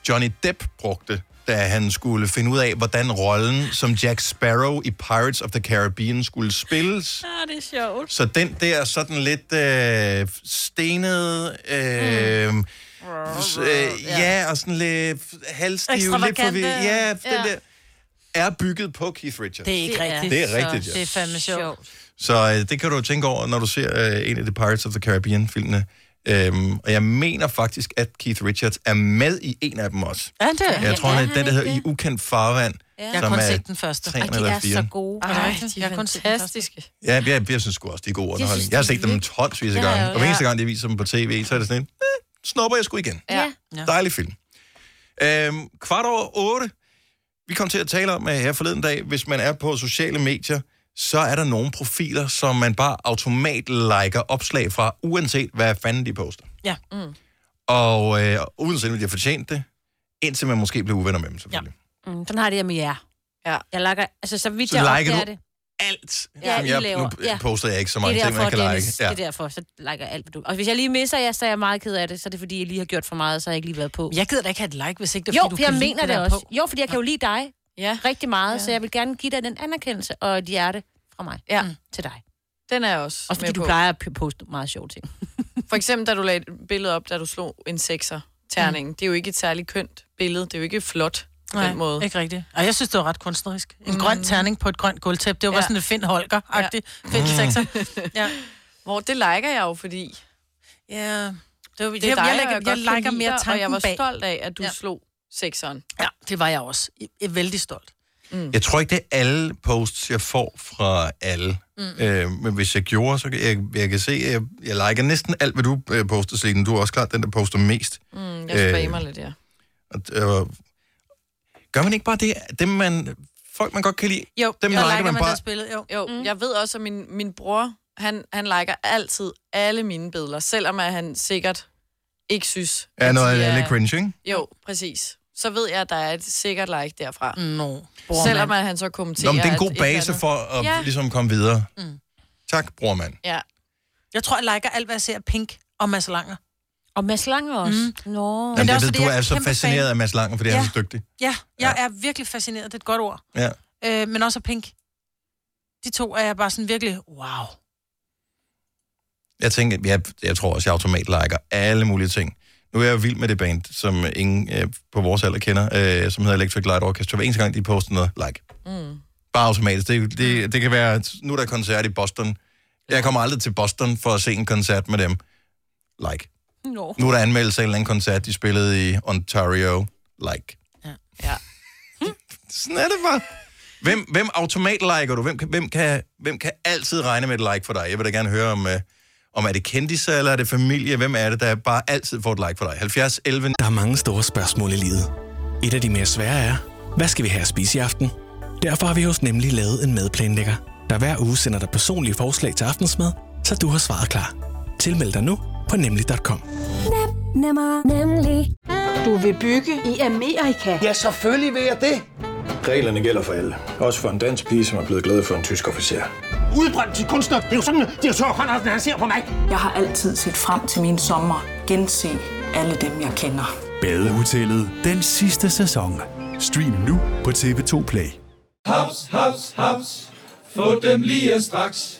S1: Johnny Depp brugte, da han skulle finde ud af, hvordan rollen som Jack Sparrow i Pirates of the Caribbean skulle spilles.
S2: Ah, det er sjovt.
S1: Så den der sådan lidt øh, stenet, øh, mm. øh, ja, og sådan lidt halvstiv, lidt forvirret.
S3: Ekstravagante.
S1: Ja, den
S3: Ja.
S1: der er bygget på Keith Richards.
S3: Det er ikke rigtigt.
S1: Det er rigtigt,
S3: så
S1: ja.
S3: Det er fandme sjovt.
S1: Så øh, det kan du jo tænke over, når du ser øh, en af de Pirates of the Caribbean-filmene. Øhm, og jeg mener faktisk, at Keith Richards er med i en af dem også.
S3: Er han det?
S1: Jeg
S3: Ja,
S1: tror,
S3: er
S1: han er
S3: han
S1: den, der hedder I ukendt farvand.
S3: Jeg har kun set den første.
S1: Ej,
S3: de er så gode. Ej,
S4: Ej,
S3: de er fantastiske.
S1: Ja, jeg, jeg synes sgu også, de er god
S3: Jeg synes,
S1: underholdning. Jeg har set dem tonsvis af
S3: Ja,
S1: gange.
S3: ja.
S1: Og hver eneste gang, de viser dem på tv, så er det sådan en, eh, snupper jeg sgu igen.
S2: Ja.
S1: Dejlig film. Øhm, kvart over otte. Vi kom til at tale om øh, her forleden dag, hvis man er på sociale medier, så er der nogle profiler, som man bare automat liker opslag fra, uanset hvad fanden de poster.
S3: Ja. Mm.
S1: Og øh, uanset om de har fortjent det, indtil man måske bliver uvenner med dem. Så,
S2: Ja. Mm, den har det jeg med jer. Ja. Jeg liker, altså så vidt
S1: Så
S2: jeg
S1: liker
S2: opdager
S1: du
S2: det.
S1: alt,
S2: ja,
S1: som
S2: I
S1: jeg-
S2: laver.
S1: nu poster jeg ikke så mange
S2: det er
S1: ting, man
S2: derfor,
S1: kan like.
S2: Dennis,
S1: Ja.
S2: Det er derfor, så liker jeg alt, hvad du... Og hvis jeg lige misser jer, så er jeg meget ked af det, så er det fordi, jeg lige har gjort for meget, så har jeg ikke lige været på.
S3: Jeg gider da ikke have et like, hvis ikke det er,
S2: jo,
S3: fordi du
S2: for jeg
S3: kan lide
S2: mener
S3: det,
S2: det
S3: der er
S2: også.
S3: på.
S2: Jo, fordi jeg kan jo lide dig ja. rigtig meget, ja. så jeg vil gerne give dig den anerkendelse og et hjerte fra mig ja. til dig.
S4: Den er jeg også
S2: Også fordi
S4: med
S2: du
S4: på.
S2: plejer at poste meget sjove ting.
S4: For eksempel, da du lagde et billede op, da du slog en sekser terningen. Mm. Det er jo ikke et særligt kønt billede. Det er jo ikke flot på
S3: Nej,
S4: den måde.
S3: ikke rigtigt. Og jeg synes, det var ret kunstnerisk. En mm. grøn terning på et grønt gulvtæppe. Det var ja.
S4: Ja.
S3: sådan et Finn Holger-agtigt. Ja. Finn
S4: Mm.
S3: sekser.
S4: ja. Hvor det liker jeg jo, fordi...
S3: Ja, det var, det
S4: er
S3: jeg,
S4: dig,
S3: jeg,
S4: og
S3: lægger,
S4: jeg
S3: jeg,
S4: godt
S3: jeg
S4: kan
S3: liker
S4: lide
S3: mere
S4: dig,
S3: tanken
S4: og jeg var
S3: bag.
S4: stolt af, at du
S3: ja.
S4: slog sekseren.
S3: Ja, det var jeg også. Jeg er vældig stolt. Mm.
S1: Jeg tror ikke, det er alle posts, jeg får fra alle.
S3: Mm.
S1: Mm. Øh, men hvis jeg gjorde, så kan jeg, jeg kan se, at jeg, jeg liker næsten alt, hvad du øh, poster, Selina. Du er også klart den, der poster mest.
S4: Mm, jeg spammer øh. lidt, ja.
S1: lidt. Øh, gør man ikke bare det? Dem, man, folk, man godt kan lide,
S4: jeg
S1: dem liker man bare.
S4: deres billede, jo. jo mm. Jeg ved også, at min, min bror, han, han liker altid alle mine billeder, selvom at han sikkert ikke synes...
S1: Ja,
S4: at
S1: noget
S4: de
S1: er lidt cringe, ikke?
S4: Jo, præcis. Så ved jeg, at der er et sikkert like derfra.
S3: Nå,
S1: bror,
S4: Selvom
S1: mand.
S4: at han så kommenterer...
S1: Nå, men det er en
S4: at
S1: god
S4: et eller
S1: base
S4: andet-
S1: for at
S4: ja.
S1: ja. Mm. ligesom komme videre.
S3: Mm.
S1: Mm. Tak, brormand.
S4: Ja.
S3: Jeg tror, jeg liker alt, hvad jeg ser af Pink og Mads Langer.
S2: Og Mads Langer også? Mm. Nå.
S1: Jamen, jeg ved, du er så fascineret af Mads Langer, fordi ja. han er så dygtig.
S3: Ja, jeg ja. er virkelig fascineret. Det er et godt ord.
S1: Ja.
S3: Øh, men også af Pink. De to er jeg bare sådan virkelig, wow.
S1: Jeg tænker, jeg, jeg tror også, jeg automatliker alle mulige ting. Nu er jeg jo vild med det band, som ingen øh, på vores alder kender, øh, som hedder Electric Light Orchestra. Hver eneste gang, de poster noget, like.
S4: Mm.
S1: Bare automatisk. Det, det, det kan være, at nu er der koncert i Boston. Jeg kommer aldrig til Boston for at se en koncert med dem. Like.
S2: Nå.
S1: Nu er der anmeldelse af en eller anden koncert, de spillede i Ontario. Like.
S4: Ja.
S1: Sådan er det bare. Hvem, hvem automatliker du? Hvem, kan- hvem, kan, hvem kan altid regne med et like for dig? Jeg vil da gerne høre om, øh, om er det kendiser, eller er det familie? Hvem er det, der bare altid får et like for dig? 70, 11...
S9: Der er mange store spørgsmål i livet. Et af de mere svære er, hvad skal vi have at spise i aften? Derfor har vi hos Nemlig lavet en madplanlægger, der hver uge sender dig personlige forslag til aftensmad, så du har svaret klar. Tilmeld dig nu på nemlig.com.
S21: Nem, nemmer, nemlig. Du vil bygge i Amerika? Ja, selvfølgelig vil jeg det.
S22: Reglerne gælder for alle. Også for en dansk pige, som er blevet glad for en tysk officer.
S23: Udbrændt til kunstner. Det er jo sådan, at de har tørt, han, han ser på mig. Jeg har altid set frem til min sommer. Gense alle dem, jeg kender.
S24: Mm. Badehotellet den sidste sæson. Stream nu på TV2 Play.
S11: Haps, haps, haps. Få dem lige straks.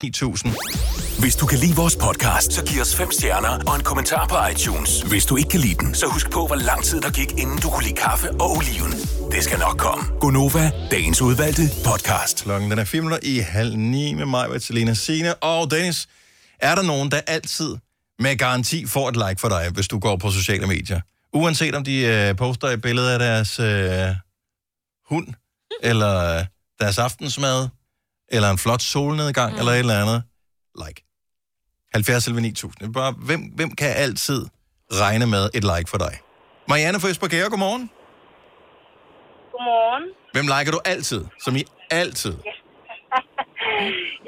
S5: 9000. Hvis du kan lide vores podcast, så giv os fem stjerner og en kommentar på iTunes. Hvis du ikke kan lide den, så husk på, hvor lang tid der gik, inden du kunne lide kaffe og oliven. Det skal nok komme.
S1: Gonova, dagens udvalgte podcast. Klokken den er 4 minutter i halv ni med mig, med Selena Sine og Dennis. Er der nogen, der altid med garanti får et like for dig, hvis du går på sociale medier? Uanset om de øh, poster et billede af deres øh, hund, eller øh, deres aftensmad, eller en flot solnedgang, mm. eller et eller andet. Like. 70 eller 9000. Det er Bare, hvem, hvem kan altid regne med et like for dig? Marianne fra Esbjerg, godmorgen.
S8: Godmorgen.
S1: Hvem liker du altid? Som i altid?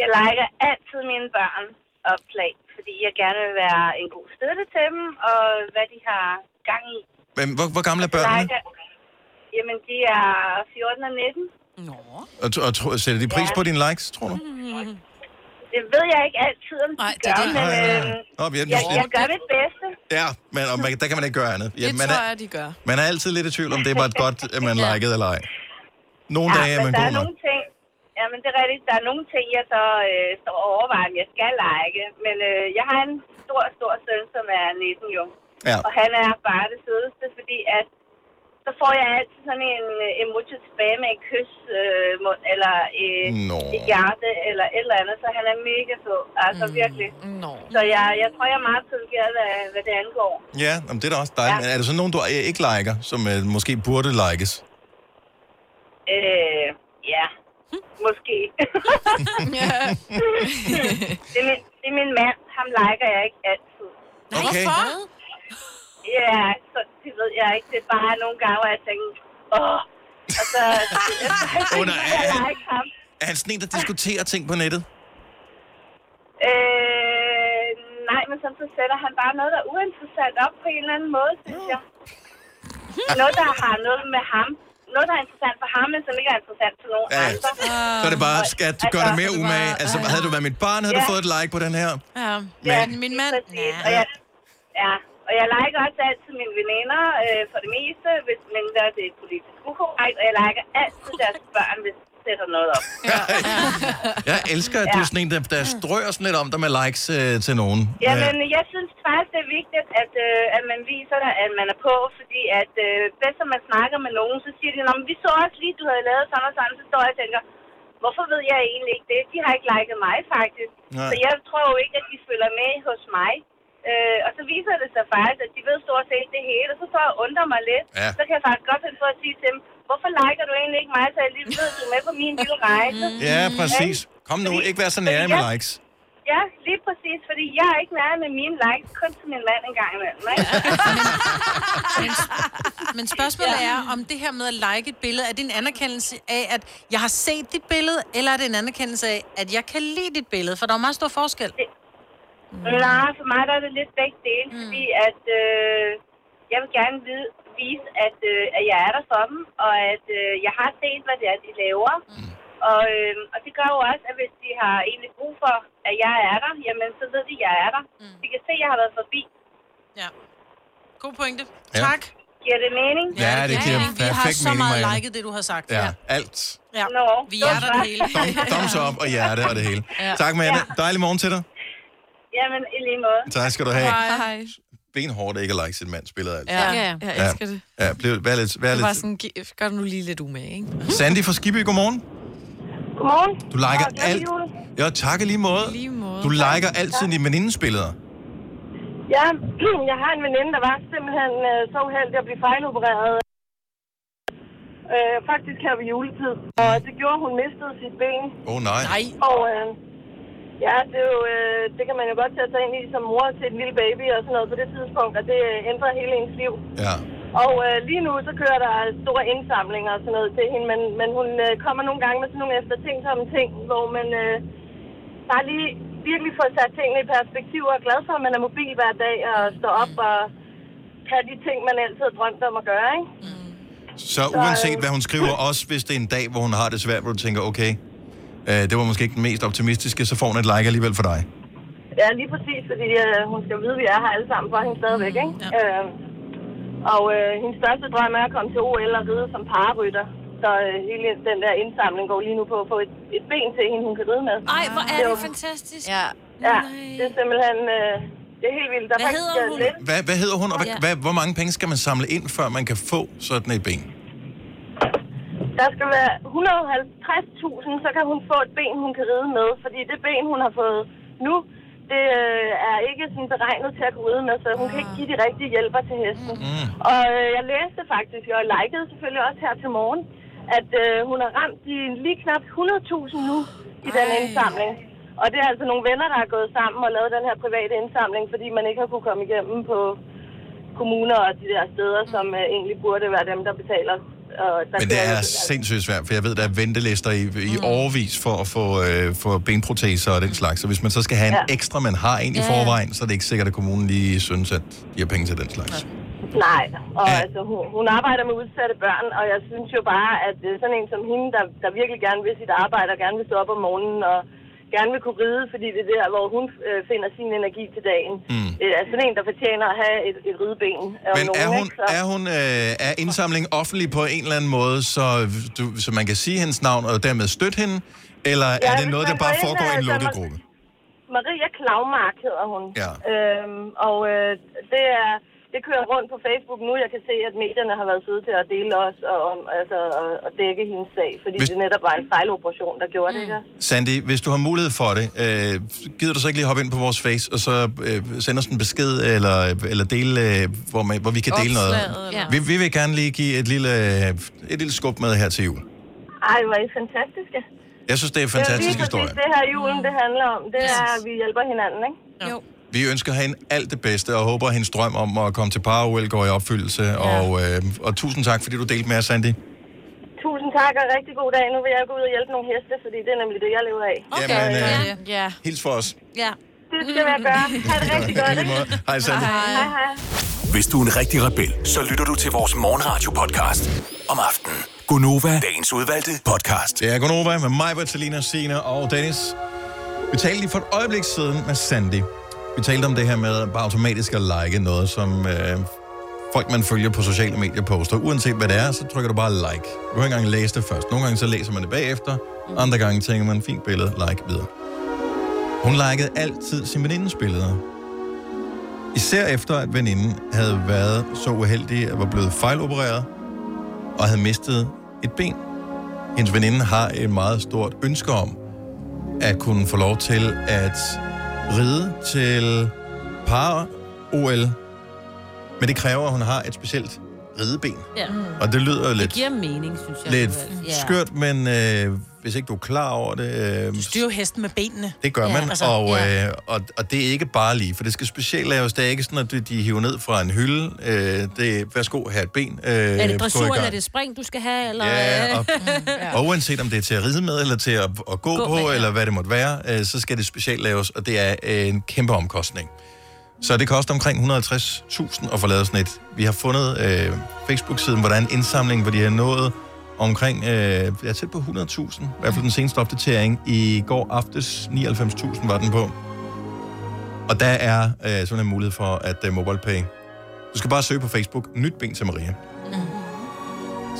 S8: Jeg liker altid mine børn opslag, fordi jeg gerne vil være en god støtte til dem, og hvad de har gang i.
S1: Hvem, hvor, hvor gamle er
S8: Jeg
S1: børnene?
S8: liker, jamen, de er 14 og 19.
S1: Og, tro- og, tro- sætter de pris på dine likes, tror du?
S8: Det ved jeg ikke altid, om de gør,
S1: det-
S8: men
S1: Nej, nej,
S8: øh,
S1: nej. Nå, men
S8: jeg,
S1: jeg-
S8: jeg gør mit bedste.
S1: Ja, men og man, der kan man ikke gøre andet. Ja,
S8: Det
S1: man,
S8: tror
S1: er,
S8: jeg, de gør.
S1: man er altid lidt i tvivl, om det var et godt, at man likede eller ej. Nogle dage er
S8: men
S1: man
S8: der
S1: god
S8: er
S1: nok.
S8: nogle ting, ja, men det er rigtigt, der er nogle ting, jeg så øh, står og overvejer, om jeg skal like. Men øh, jeg har en stor, stor søn, som er 19 jo.
S1: Ja.
S8: Og han er bare det sødeste, fordi at så får jeg altid sådan en øh, emoji tilbage med en kys øh, mund, eller øh,
S1: Nå.
S8: et hjerte, eller et eller andet, så han er mega sød. Altså mm. virkelig.
S4: Nå.
S8: Så jeg, jeg tror, jeg er meget privilegeret, hvad, hvad det angår.
S1: Ja, jamen, det er da også dejligt. Men er der så nogen, du øh, ikke liker, som øh, måske burde likes?
S8: Øh, ja. Måske. det, er min, det er min mand. Ham liker jeg ikke altid.
S1: Okay.
S8: Ja, så, det ved jeg ikke. Det er bare nogle gange, hvor jeg tænker, åh, og så...
S1: Under
S8: jeg like ham.
S1: Er han sådan en, der diskuterer ting på nettet?
S8: Øh, nej, men sådan, så sætter han bare noget, der er uinteressant op på en eller anden måde, synes jeg. Noget, der har noget med ham. Noget, der er interessant for ham, men som ikke er interessant for nogen
S1: Ja.
S8: andre.
S1: Så er det bare, skat, gør dig mere umage. Altså, havde du været mit barn, havde du
S8: Ja.
S1: fået et like på den her.
S8: Ja,
S1: Ja,
S8: min mand. Og jeg, ja, og jeg liker også altid mine veninder øh, for det meste, hvis mindre det er politisk ukorrekt, og jeg liker altid deres børn, hvis de sætter noget op.
S1: Jeg elsker, at du er sådan en, der, der strøger sådan lidt om dig med likes øh, til nogen.
S8: Jamen, jeg synes faktisk, det er vigtigt, at, øh, at man viser, at man er på, fordi at øh, bedst, når man snakker med nogen, så siger de, "Nå, men vi så også lige, du havde lavet sådan og sådan, så står jeg og tænker, hvorfor ved jeg egentlig ikke det? De har ikke liket mig, faktisk.
S10: Nej.
S8: Så jeg tror jo ikke, at de følger med hos mig. Øh, og så viser det sig faktisk, at de ved stort set det hele, og så står jeg og undrer mig lidt.
S10: Ja.
S8: Så kan jeg faktisk godt finde på at sige til dem, hvorfor liker du egentlig ikke mig, så jeg lige ved, at du er med på min lille rejse?
S1: Ja, præcis.
S8: Ikke?
S1: Kom nu,
S8: Fordi-
S1: ikke vær så
S8: fordi
S1: nær
S8: jeg-
S1: med likes.
S8: Ja, lige præcis, fordi jeg er ikke nær med mine likes, kun til min mand en gang imellem, ikke?
S3: Men spørgsmålet ja. er, om det her med at like et billede, er det en anerkendelse af, at jeg har set dit billede, eller er det en anerkendelse af, at jeg kan lide dit billede? For der er jo meget stor forskel. Mm.
S8: Nej, for mig der er det lidt begge dele, mm. fordi at øh, jeg vil gerne vide, vise, at, øh, at jeg er der for dem, og at øh, jeg har set, hvad det er, de laver. Mm. Og, øh, og det gør jo også, at hvis de har egentlig brug for, at jeg er der, jamen så ved de, at jeg er der. Mm. De kan se, at jeg har været forbi.
S3: Ja. God pointe.
S1: Ja.
S3: Tak.
S8: Giver det mening?
S1: Ja, det giver
S3: Vi har
S1: perfekt
S3: så
S1: mening,
S3: meget
S1: Marianne.
S3: liket det, du har sagt.
S1: Ja, alt.
S3: ja.
S8: Nå,
S3: Vi er der det hele.
S1: Thumbs up og hjerte og det hele.
S8: Ja.
S1: Tak, Marianne. Dejlig morgen til dig.
S8: Jamen, i lige måde.
S1: Tak skal du have.
S8: Hej, hej.
S1: Benhårdt ikke at like sit mands billede. Altså.
S4: Ja, ja, jeg elsker det.
S1: Ja, bliv, vær lidt, vær
S4: Det var
S1: lidt.
S4: sådan, gi- gør det nu lige lidt umage, ikke?
S1: Sandy fra Skibby, godmorgen.
S8: Godmorgen.
S1: Du liker alt. Ja, tak i lige måde.
S4: Lige måde.
S1: Du liker altid dine venindes billeder.
S10: Ja, jeg har en veninde, der var simpelthen øh, så uheldig at blive fejlopereret. Øh, faktisk her ved juletid. Og det gjorde, at hun mistede sit ben.
S1: Åh, oh, nej.
S10: Nej. Og øh, ja, det, er jo, øh, det kan man jo godt tage sig ind i som mor til et lille baby og sådan noget på det tidspunkt, og det øh, ændrer hele ens liv.
S1: Ja.
S10: Og øh, lige nu, så kører der store indsamlinger og sådan noget til hende, men, men hun øh, kommer nogle gange med sådan nogle eftertænksomme ting, hvor man øh, bare lige, virkelig fået sat tingene i perspektiv og er glad for, at man er mobil hver dag og står op og kan de ting, man altid har drømt om at gøre, ikke?
S1: Så uanset hvad hun skriver, også hvis det er en dag, hvor hun har det svært, hvor du tænker, okay, øh, det var måske ikke den mest optimistiske, så får hun et like alligevel for dig.
S10: Ja, lige præcis, fordi øh, hun skal vide, at vi er her alle sammen for hende stadigvæk, ikke? Ja. Øh, og øh, hendes største drøm er at komme til OL og ride som parrytter. Så øh, hele den der indsamling går lige nu på at få et, et ben til hende, hun kan ride med.
S2: Ej, hvor er det fantastisk.
S10: Ja, ja det er simpelthen... Øh, det er helt vildt. Der er
S2: Hvad
S10: faktisk,
S2: hedder
S10: øh,
S2: hun?
S10: Lidt,
S1: Hvad, hvad hedder hun, og hvad,
S10: Ja.
S1: hvad, hvor mange penge skal man samle ind, før man kan få sådan et ben?
S10: der skal være 150.000, så kan hun få et ben, hun kan ride med. Fordi det ben, hun har fået nu, det øh, er ikke sådan beregnet til at kunne ride med, så hun kan ikke give de rigtige hjælper til hesten.
S1: Mm.
S10: Og øh, jeg læste faktisk, og jeg likede selvfølgelig også her til morgen, at øh, hun har ramt de lige knap 100.000 nu i den indsamling. Og det er altså nogle venner, der er gået sammen og lavet den her private indsamling, fordi man ikke har kunne komme igennem på kommuner og de der steder, som øh, egentlig burde være dem, der betaler. Og der
S1: Men det er sindssygt svært, for jeg ved, der er ventelister i, i overvis for at få, øh, få benproteser og den slags. Så hvis man så skal have en
S10: Ja.
S1: ekstra, man har en i
S10: Ja, ja.
S1: forvejen, så er det ikke sikkert, at kommunen lige synes, at de har penge til den slags.
S10: Nej, og altså, hun, hun arbejder med udsatte børn, og jeg synes jo bare, at øh, sådan en som hende, der, der virkelig gerne vil sit arbejde, og gerne vil stå op om morgenen, og gerne vil kunne ride, fordi det er der, hvor hun øh, finder sin energi til dagen. Mm. Øh, er sådan en, der fortjener at have et, et rideben. af
S1: Men er
S10: nogen,
S1: hun,
S10: ikke? Så-
S1: er hun øh, er indsamlingen offentlig på en eller anden måde, så, du, så man kan sige hendes navn og dermed støtte hende? Eller ja, er
S10: Ja,
S1: det
S10: hvis
S1: noget,
S10: man
S1: der bare
S10: går ind,
S1: foregår i en
S10: altså,
S1: lukket
S10: man-
S1: gruppe?
S10: Maria Klavmark hedder hun.
S1: Ja.
S10: Øhm, og øh, det er det kører rundt på Facebook nu. Jeg kan se, at medierne har været søde til at dele os og, om, altså, og, og dække hendes sag, fordi
S1: Hvis-
S10: Hvis... det netop var en fejloperation, der gjorde mm. det her.
S1: Sandy, hvis du har mulighed for det, øh, gider du så ikke lige hoppe ind på vores face, og så øh, sende os en besked, eller, eller dele, øh, hvor, man, hvor vi kan dele noget?
S10: Opslaget, eller-
S1: Vi, vi vil gerne lige give et lille, øh, et lille skub med her til jul.
S10: Ej, hvor er I fantastiske.
S1: Jeg synes, det er en
S10: det er
S1: fantastisk
S10: lige
S1: historie.
S10: præcis det her julen, det handler om. Det er, at vi hjælper hinanden, ikke? Jo.
S1: Vi ønsker hende alt det bedste, og håber, at hendes drøm om at komme til Parallel går i opfyldelse. Ja. Og, øh, og tusind tak, fordi du delte med os, Sandy.
S10: Tusind tak, og rigtig god dag. Nu vil jeg gå ud og hjælpe nogle heste, fordi det er nemlig det, jeg lever af.
S1: Okay. Jamen, øh, Ja.
S10: ja.
S1: Hils for os.
S10: ja. Det skal jeg gøre. Ha' det rigtig godt.
S1: I lige måde. Hej, Sandy.
S10: Hej, hej.
S5: Hvis du er en rigtig rebel, så lytter du til vores morgenradio-podcast om aftenen. Gunova, dagens udvalgte podcast.
S1: Det er Gonova med mig, Bertalina, Sina og Dennis. Vi talte lige for et øjeblik siden med Sandy. Vi talte om det her med bare automatisk at like noget, som øh, folk, man følger på sociale medier, poster. Uanset hvad det er, så trykker du bare like. Du kan ikke engang læse det først. Nogle gange så læser man det bagefter. Andre gange tænker man, fint billede, like videre. Hun likede altid sin venindes billeder. Især efter, at veninden havde været så uheldig, at var blevet fejlopereret og havde mistet et ben. Hendes veninde har et meget stort ønske om at kunne få lov til at ride til par-OL. Men det kræver, at hun har et specielt rideben.
S2: Ja.
S1: Og det lyder
S2: Det
S1: lidt,
S2: giver mening, synes jeg.
S1: lidt
S2: alligevel.
S1: skørt, men øh, hvis ikke du er klar over det... Øh,
S3: Styrer jo hesten med benene.
S1: det gør
S3: Ja,
S1: man,
S3: altså,
S1: og,
S3: ja.
S1: øh, og, og det er ikke bare lige, for det skal specielt laves. Det er ikke sådan, at de- de hiver ned fra en hylde. Øh, det er, værsgo, her er et ben. Øh,
S2: Er det dressur, eller er det spring, du skal have? Eller, øh?
S1: Ja, og,
S2: Ja.
S1: og uanset om det er til at ride med, eller til at, at gå, gå på,
S2: med,
S1: med,
S2: ja.
S1: eller hvad det måtte være, øh, så skal det specielt laves, og det er øh, en kæmpe omkostning. Så det koster omkring 150.000 at få lavet sådan et. Vi har fundet øh, Facebook-siden, hvor der er en indsamling, hvor de har nået omkring, øh, jeg er tæt på 100.000, i hvert fald den seneste opdatering. I går aftes 99.000 var den på. Og der er øh, simpelthen mulighed for at øh, MobilePay. Du skal bare søge på Facebook, nyt ben til Maria.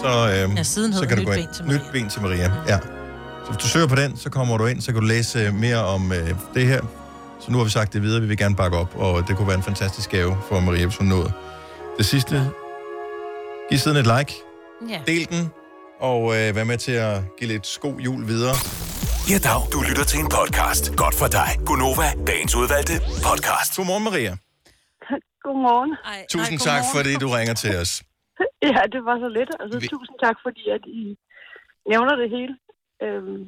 S1: Så, øh,
S3: Ja, siden
S1: så
S3: hedder
S1: kan du
S3: Nyt
S1: gå ind.
S3: ben til
S1: Nyt ben til Maria. Ja. Så hvis du søger på den, så kommer du ind, så kan du læse øh, mere om øh, det her. Så nu har vi sagt det videre, vi vil gerne bakke op, og det kunne være en fantastisk gave for Maria, hvis hun nåede. Det sidste, giv siden et like,
S2: Ja.
S1: del den, og øh, vær med til at give lidt god jul videre.
S5: Ja, dag. Du lytter til en podcast. Godt for dig. Gunova, dagens udvalgte podcast.
S1: Godmorgen, Maria.
S13: Godmorgen.
S2: Ej,
S1: Tusind tak, fordi du ringer til os.
S13: Ja, det var så lidt. Altså, Vi... tusind tak, fordi at I nævner det hele. Øhm,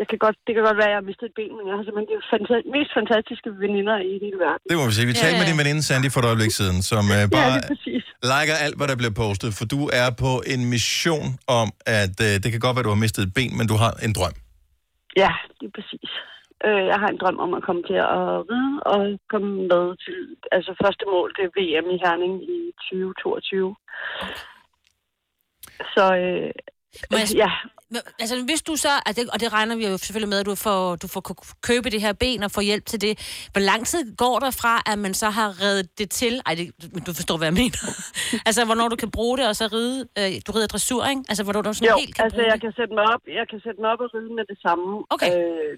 S13: jeg kan godt, det kan godt være, at jeg har mistet et ben, men jeg har simpelthen de fanta- mest fantastiske veninder i hele verden.
S1: Det må vi sige. Vi
S13: Ja,
S1: talte med
S13: ja.
S1: din veninde Sandy for et øjeblik siden, som øh, bare
S13: lige præcis.
S1: liker alt, hvad der bliver postet, for du er på en mission om, at øh, det kan godt være, du har mistet et ben, men du har en drøm.
S13: Ja, det er præcis. Øh, jeg har en drøm om at komme til at ride og komme med til... Altså første mål, det er VM i Herning i 2022. Så øh,
S2: Må jeg,
S13: ja,
S2: Men, Altså, hvis du så, at det, og det regner vi jo selvfølgelig med, at du får, du får k- købe det her ben og få hjælp til det. Hvor lang tid går der fra, at man så har reddet det til? Ej, det, men du forstår, hvad jeg mener. altså, hvornår du kan bruge det, og så ride, øh, du rider dressur, ikke? Altså, hvornår du sådan
S13: jo,
S2: helt kan
S13: altså
S2: bruge
S13: jeg
S2: det.
S13: kan, sætte mig op, jeg kan sætte mig op og ride med det samme. Okay. Øh,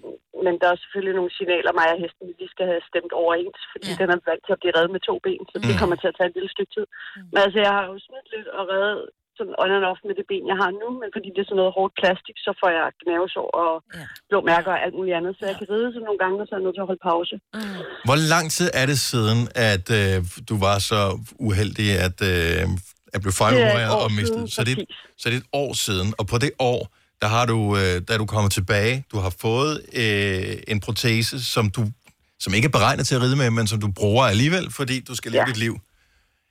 S13: men der er selvfølgelig nogle signaler, mig og hesten, vi lige skal have stemt overens, fordi ja. Mm. den er vant til at blive reddet med to ben, så det kommer til at tage et lille stykke tid. Men altså, jeg har jo smidt lidt og reddet sådan on and off med det ben, jeg har nu, men fordi det er sådan noget hårdt plastik, så får jeg gnavesår og ja. blå mærker og alt muligt andet, så jeg kan ride sådan nogle gange, og så er jeg nødt til at holde pause. Mm.
S1: Hvor lang tid er det siden, at øh, du var så uheldig, at, øh, at blive
S13: Det er et
S1: fejlopereret
S13: år
S1: og
S13: siden,
S1: mistet? Så det, så det er et år siden, og på det år, der har du, øh, der er du kommet tilbage, du har fået øh, en protese, som du som ikke er beregnet til at ride med, men som du bruger alligevel, fordi du skal leve
S13: Ja.
S1: dit liv.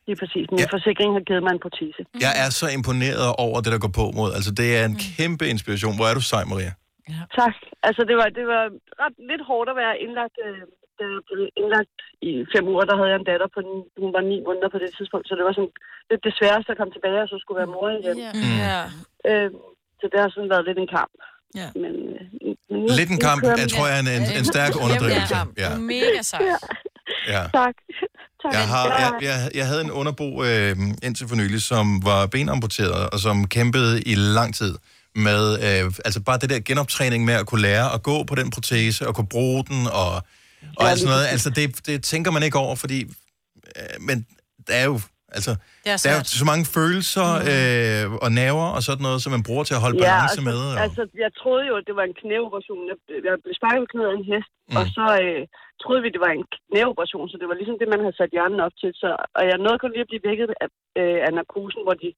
S13: Lige præcis. Min ja. forsikring har givet mig en protese.
S1: Mm-hmm. Jeg er så imponeret over det, der går på mod. Altså, det
S13: Mm.
S1: er en kæmpe inspiration. Hvor er du sej, Maria?
S13: Ja. Tak. Altså, det var, det var ret lidt hårdt at være indlagt. Øh, da jeg blev indlagt i fem uger, der havde jeg en datter på den, hun var ni måneder på det tidspunkt, så det var sådan lidt det sværeste at komme tilbage, og så skulle være mor igen.
S3: Ja.
S1: Mm.
S13: Ja. Øh, så det har sådan været lidt en kamp.
S3: Ja.
S13: Men, øh, men nu,
S1: Lidt en
S13: nu
S1: kamp,
S13: kører
S1: jeg
S13: vi.
S1: tror jeg, er en, en, en stærk underdrivelse. Ja,
S4: Mega sejt. Ja.
S1: ja.
S13: Tak. tak.
S1: Jeg, har, jeg, jeg, jeg havde en underbo øh, indtil for nylig, som var benamputeret, og som kæmpede i lang tid med øh, altså bare det der genoptræning med at kunne lære at gå på den protese, og kunne bruge den, og, og alt sådan noget. Altså det, det tænker man ikke over, fordi... Øh, men der er jo... Altså,
S3: er
S1: der er jo
S3: svært. Mm.
S1: så mange følelser øh, og nerver og sådan noget, som man bruger til at holde balance
S13: altså,
S1: med. Og...
S13: altså, jeg troede jo, at det var en knæoperation. Jeg, jeg blev sparket i knæet af en hest, mm. og så øh, troede vi, det var en knæoperation, så det var ligesom det, man havde sat hjernen op til. Så, og jeg nåede kun lige at blive vækket af, øh, af narkosen, hvor de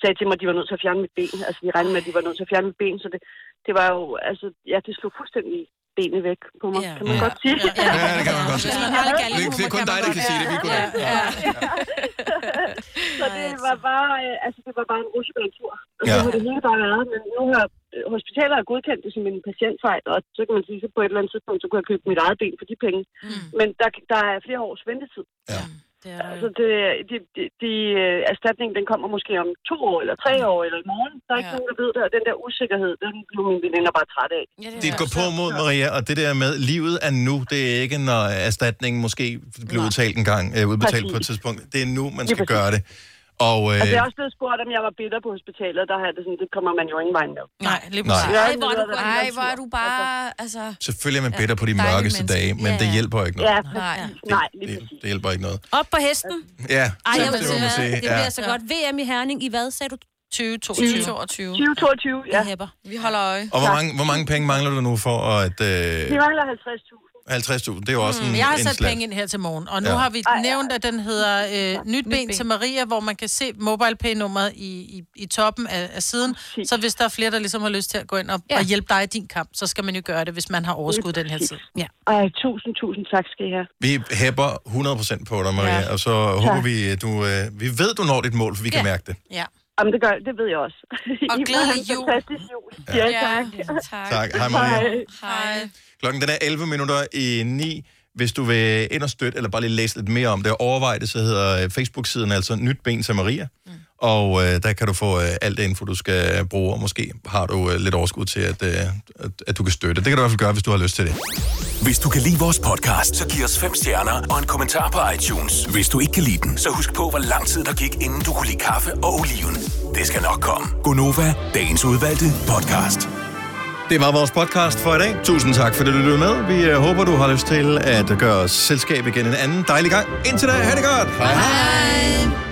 S13: sagde til mig, at de var nødt til at fjerne mit ben. Altså, de regnede med, at de var nødt til at fjerne mit ben, så det, det var jo, altså, ja, det slog fuldstændig benet væk på mig, yeah. kan man godt sige.
S1: Ja, ja, det kan man godt sige. Det, det er kun dig, der kan sige det. Vi kunne ikke.
S13: Så det var bare, øh, altså det var bare en rusjebanetur. Og så
S1: Ja.
S13: ja. det hele bare været, men nu har øh, hospitaler har godkendt det som en patientfejl, og så kan man sige, så på et eller andet tidspunkt, så kunne jeg købe mit eget ben for de penge. Mm. Men der, der er flere års ventetid.
S1: Ja.
S13: Altså, det, de, de, de øh, erstatning, den kommer måske om to år, eller tre år, eller i morgen. Der er ikke Mm. ja. nogen, der ved det, og den der usikkerhed, den blev mine veninder bare træt af. Ja,
S1: Det går på mod Maria, og det der med, livet er nu, det er ikke, når erstatningen måske bliver udtalt en gang, øh, udbetalt på et
S13: Præcis.
S1: tidspunkt. Det er nu, man
S13: Lige
S1: skal
S13: præcis.
S1: gøre det. Og, øh,
S13: Altså, jeg er også blevet spurgt, om jeg var bitter på hospitalet, og der har jeg det sådan, det kommer man jo ingen vej med.
S3: Nej, lige
S1: Nej. præcis.
S4: Ej, hvor er du, ej, hvor er du bare... Altså,
S1: Selvfølgelig er man bitter på de
S4: dejlige
S1: mørkeste dage, men
S4: Ja,
S1: det
S4: ja.
S1: hjælper ikke noget.
S4: nej.
S13: Nej,
S1: Det, det hjælper ikke noget.
S2: Op på hesten.
S1: Ja,
S2: Ej, jeg
S1: det,
S2: vil
S1: det må
S2: sige,
S1: man sige.
S2: det bliver
S1: Ja.
S2: så godt. VM i Herning i hvad, sagde du?
S4: 2022.
S2: 2022.
S13: 2022, ja.
S4: Vi holder øje.
S1: Og hvor mange, hvor mange penge mangler du nu for at... Øh,
S13: Vi mangler 50.000.
S1: 50.000, det er jo også en,
S3: Mm, jeg har
S1: en
S3: sat
S1: slat.
S3: penge ind her til morgen, og nu
S1: Ja.
S3: ja. har vi nævnt, at den hedder øh, Nyt ben, til Maria, hvor man kan se MobilePay-nummeret i, i, i toppen af, af siden. Så hvis der er flere, der ligesom har lyst til at gå ind og, ja. og hjælpe dig i din kamp, så skal man jo gøre det, hvis man har overskud den her tid. Ja.
S13: Ej, tusind, tusind tak skal I have.
S1: Vi hæpper 100% på dig, Maria, ja. og så håber vi, at du... Øh, vi ved, du når dit mål, for vi kan
S13: Ja.
S1: mærke det.
S3: Ja.
S13: Jamen, det gør det ved jeg også.
S4: Og
S13: I
S4: glædelig
S13: må have en
S4: jul.
S13: Fantastisk jul. Ja,
S4: Ja,
S13: tak.
S4: tak.
S1: Tak. Hej, Maria.
S4: Hej.
S1: Klokken den er 11 minutter i 9. Hvis du vil ind og støtte, eller bare lige læse lidt mere om det og overveje det, så hedder øh, Facebook-siden altså Nyt Ben til Maria. Mm. Og øh, der kan du få øh, alt det info, du skal bruge, og måske har du øh, lidt overskud til, at, øh, at, at du kan støtte. Det kan du i hvert fald gøre, hvis du har lyst til det.
S5: Hvis du kan lide vores podcast, så giv os fem stjerner og en kommentar på iTunes. Hvis du ikke kan lide den, så husk på, hvor lang tid der gik, inden du kunne lide kaffe og oliven. Det skal nok komme.
S1: Gonova, dagens udvalgte podcast. Det var vores podcast for i dag. Tusind tak, for at du lyttede med. Vi øh, håber, du har lyst til at gøre os selskab igen en anden dejlig gang. Indtil da, ha' det godt. Hej.
S7: Hej.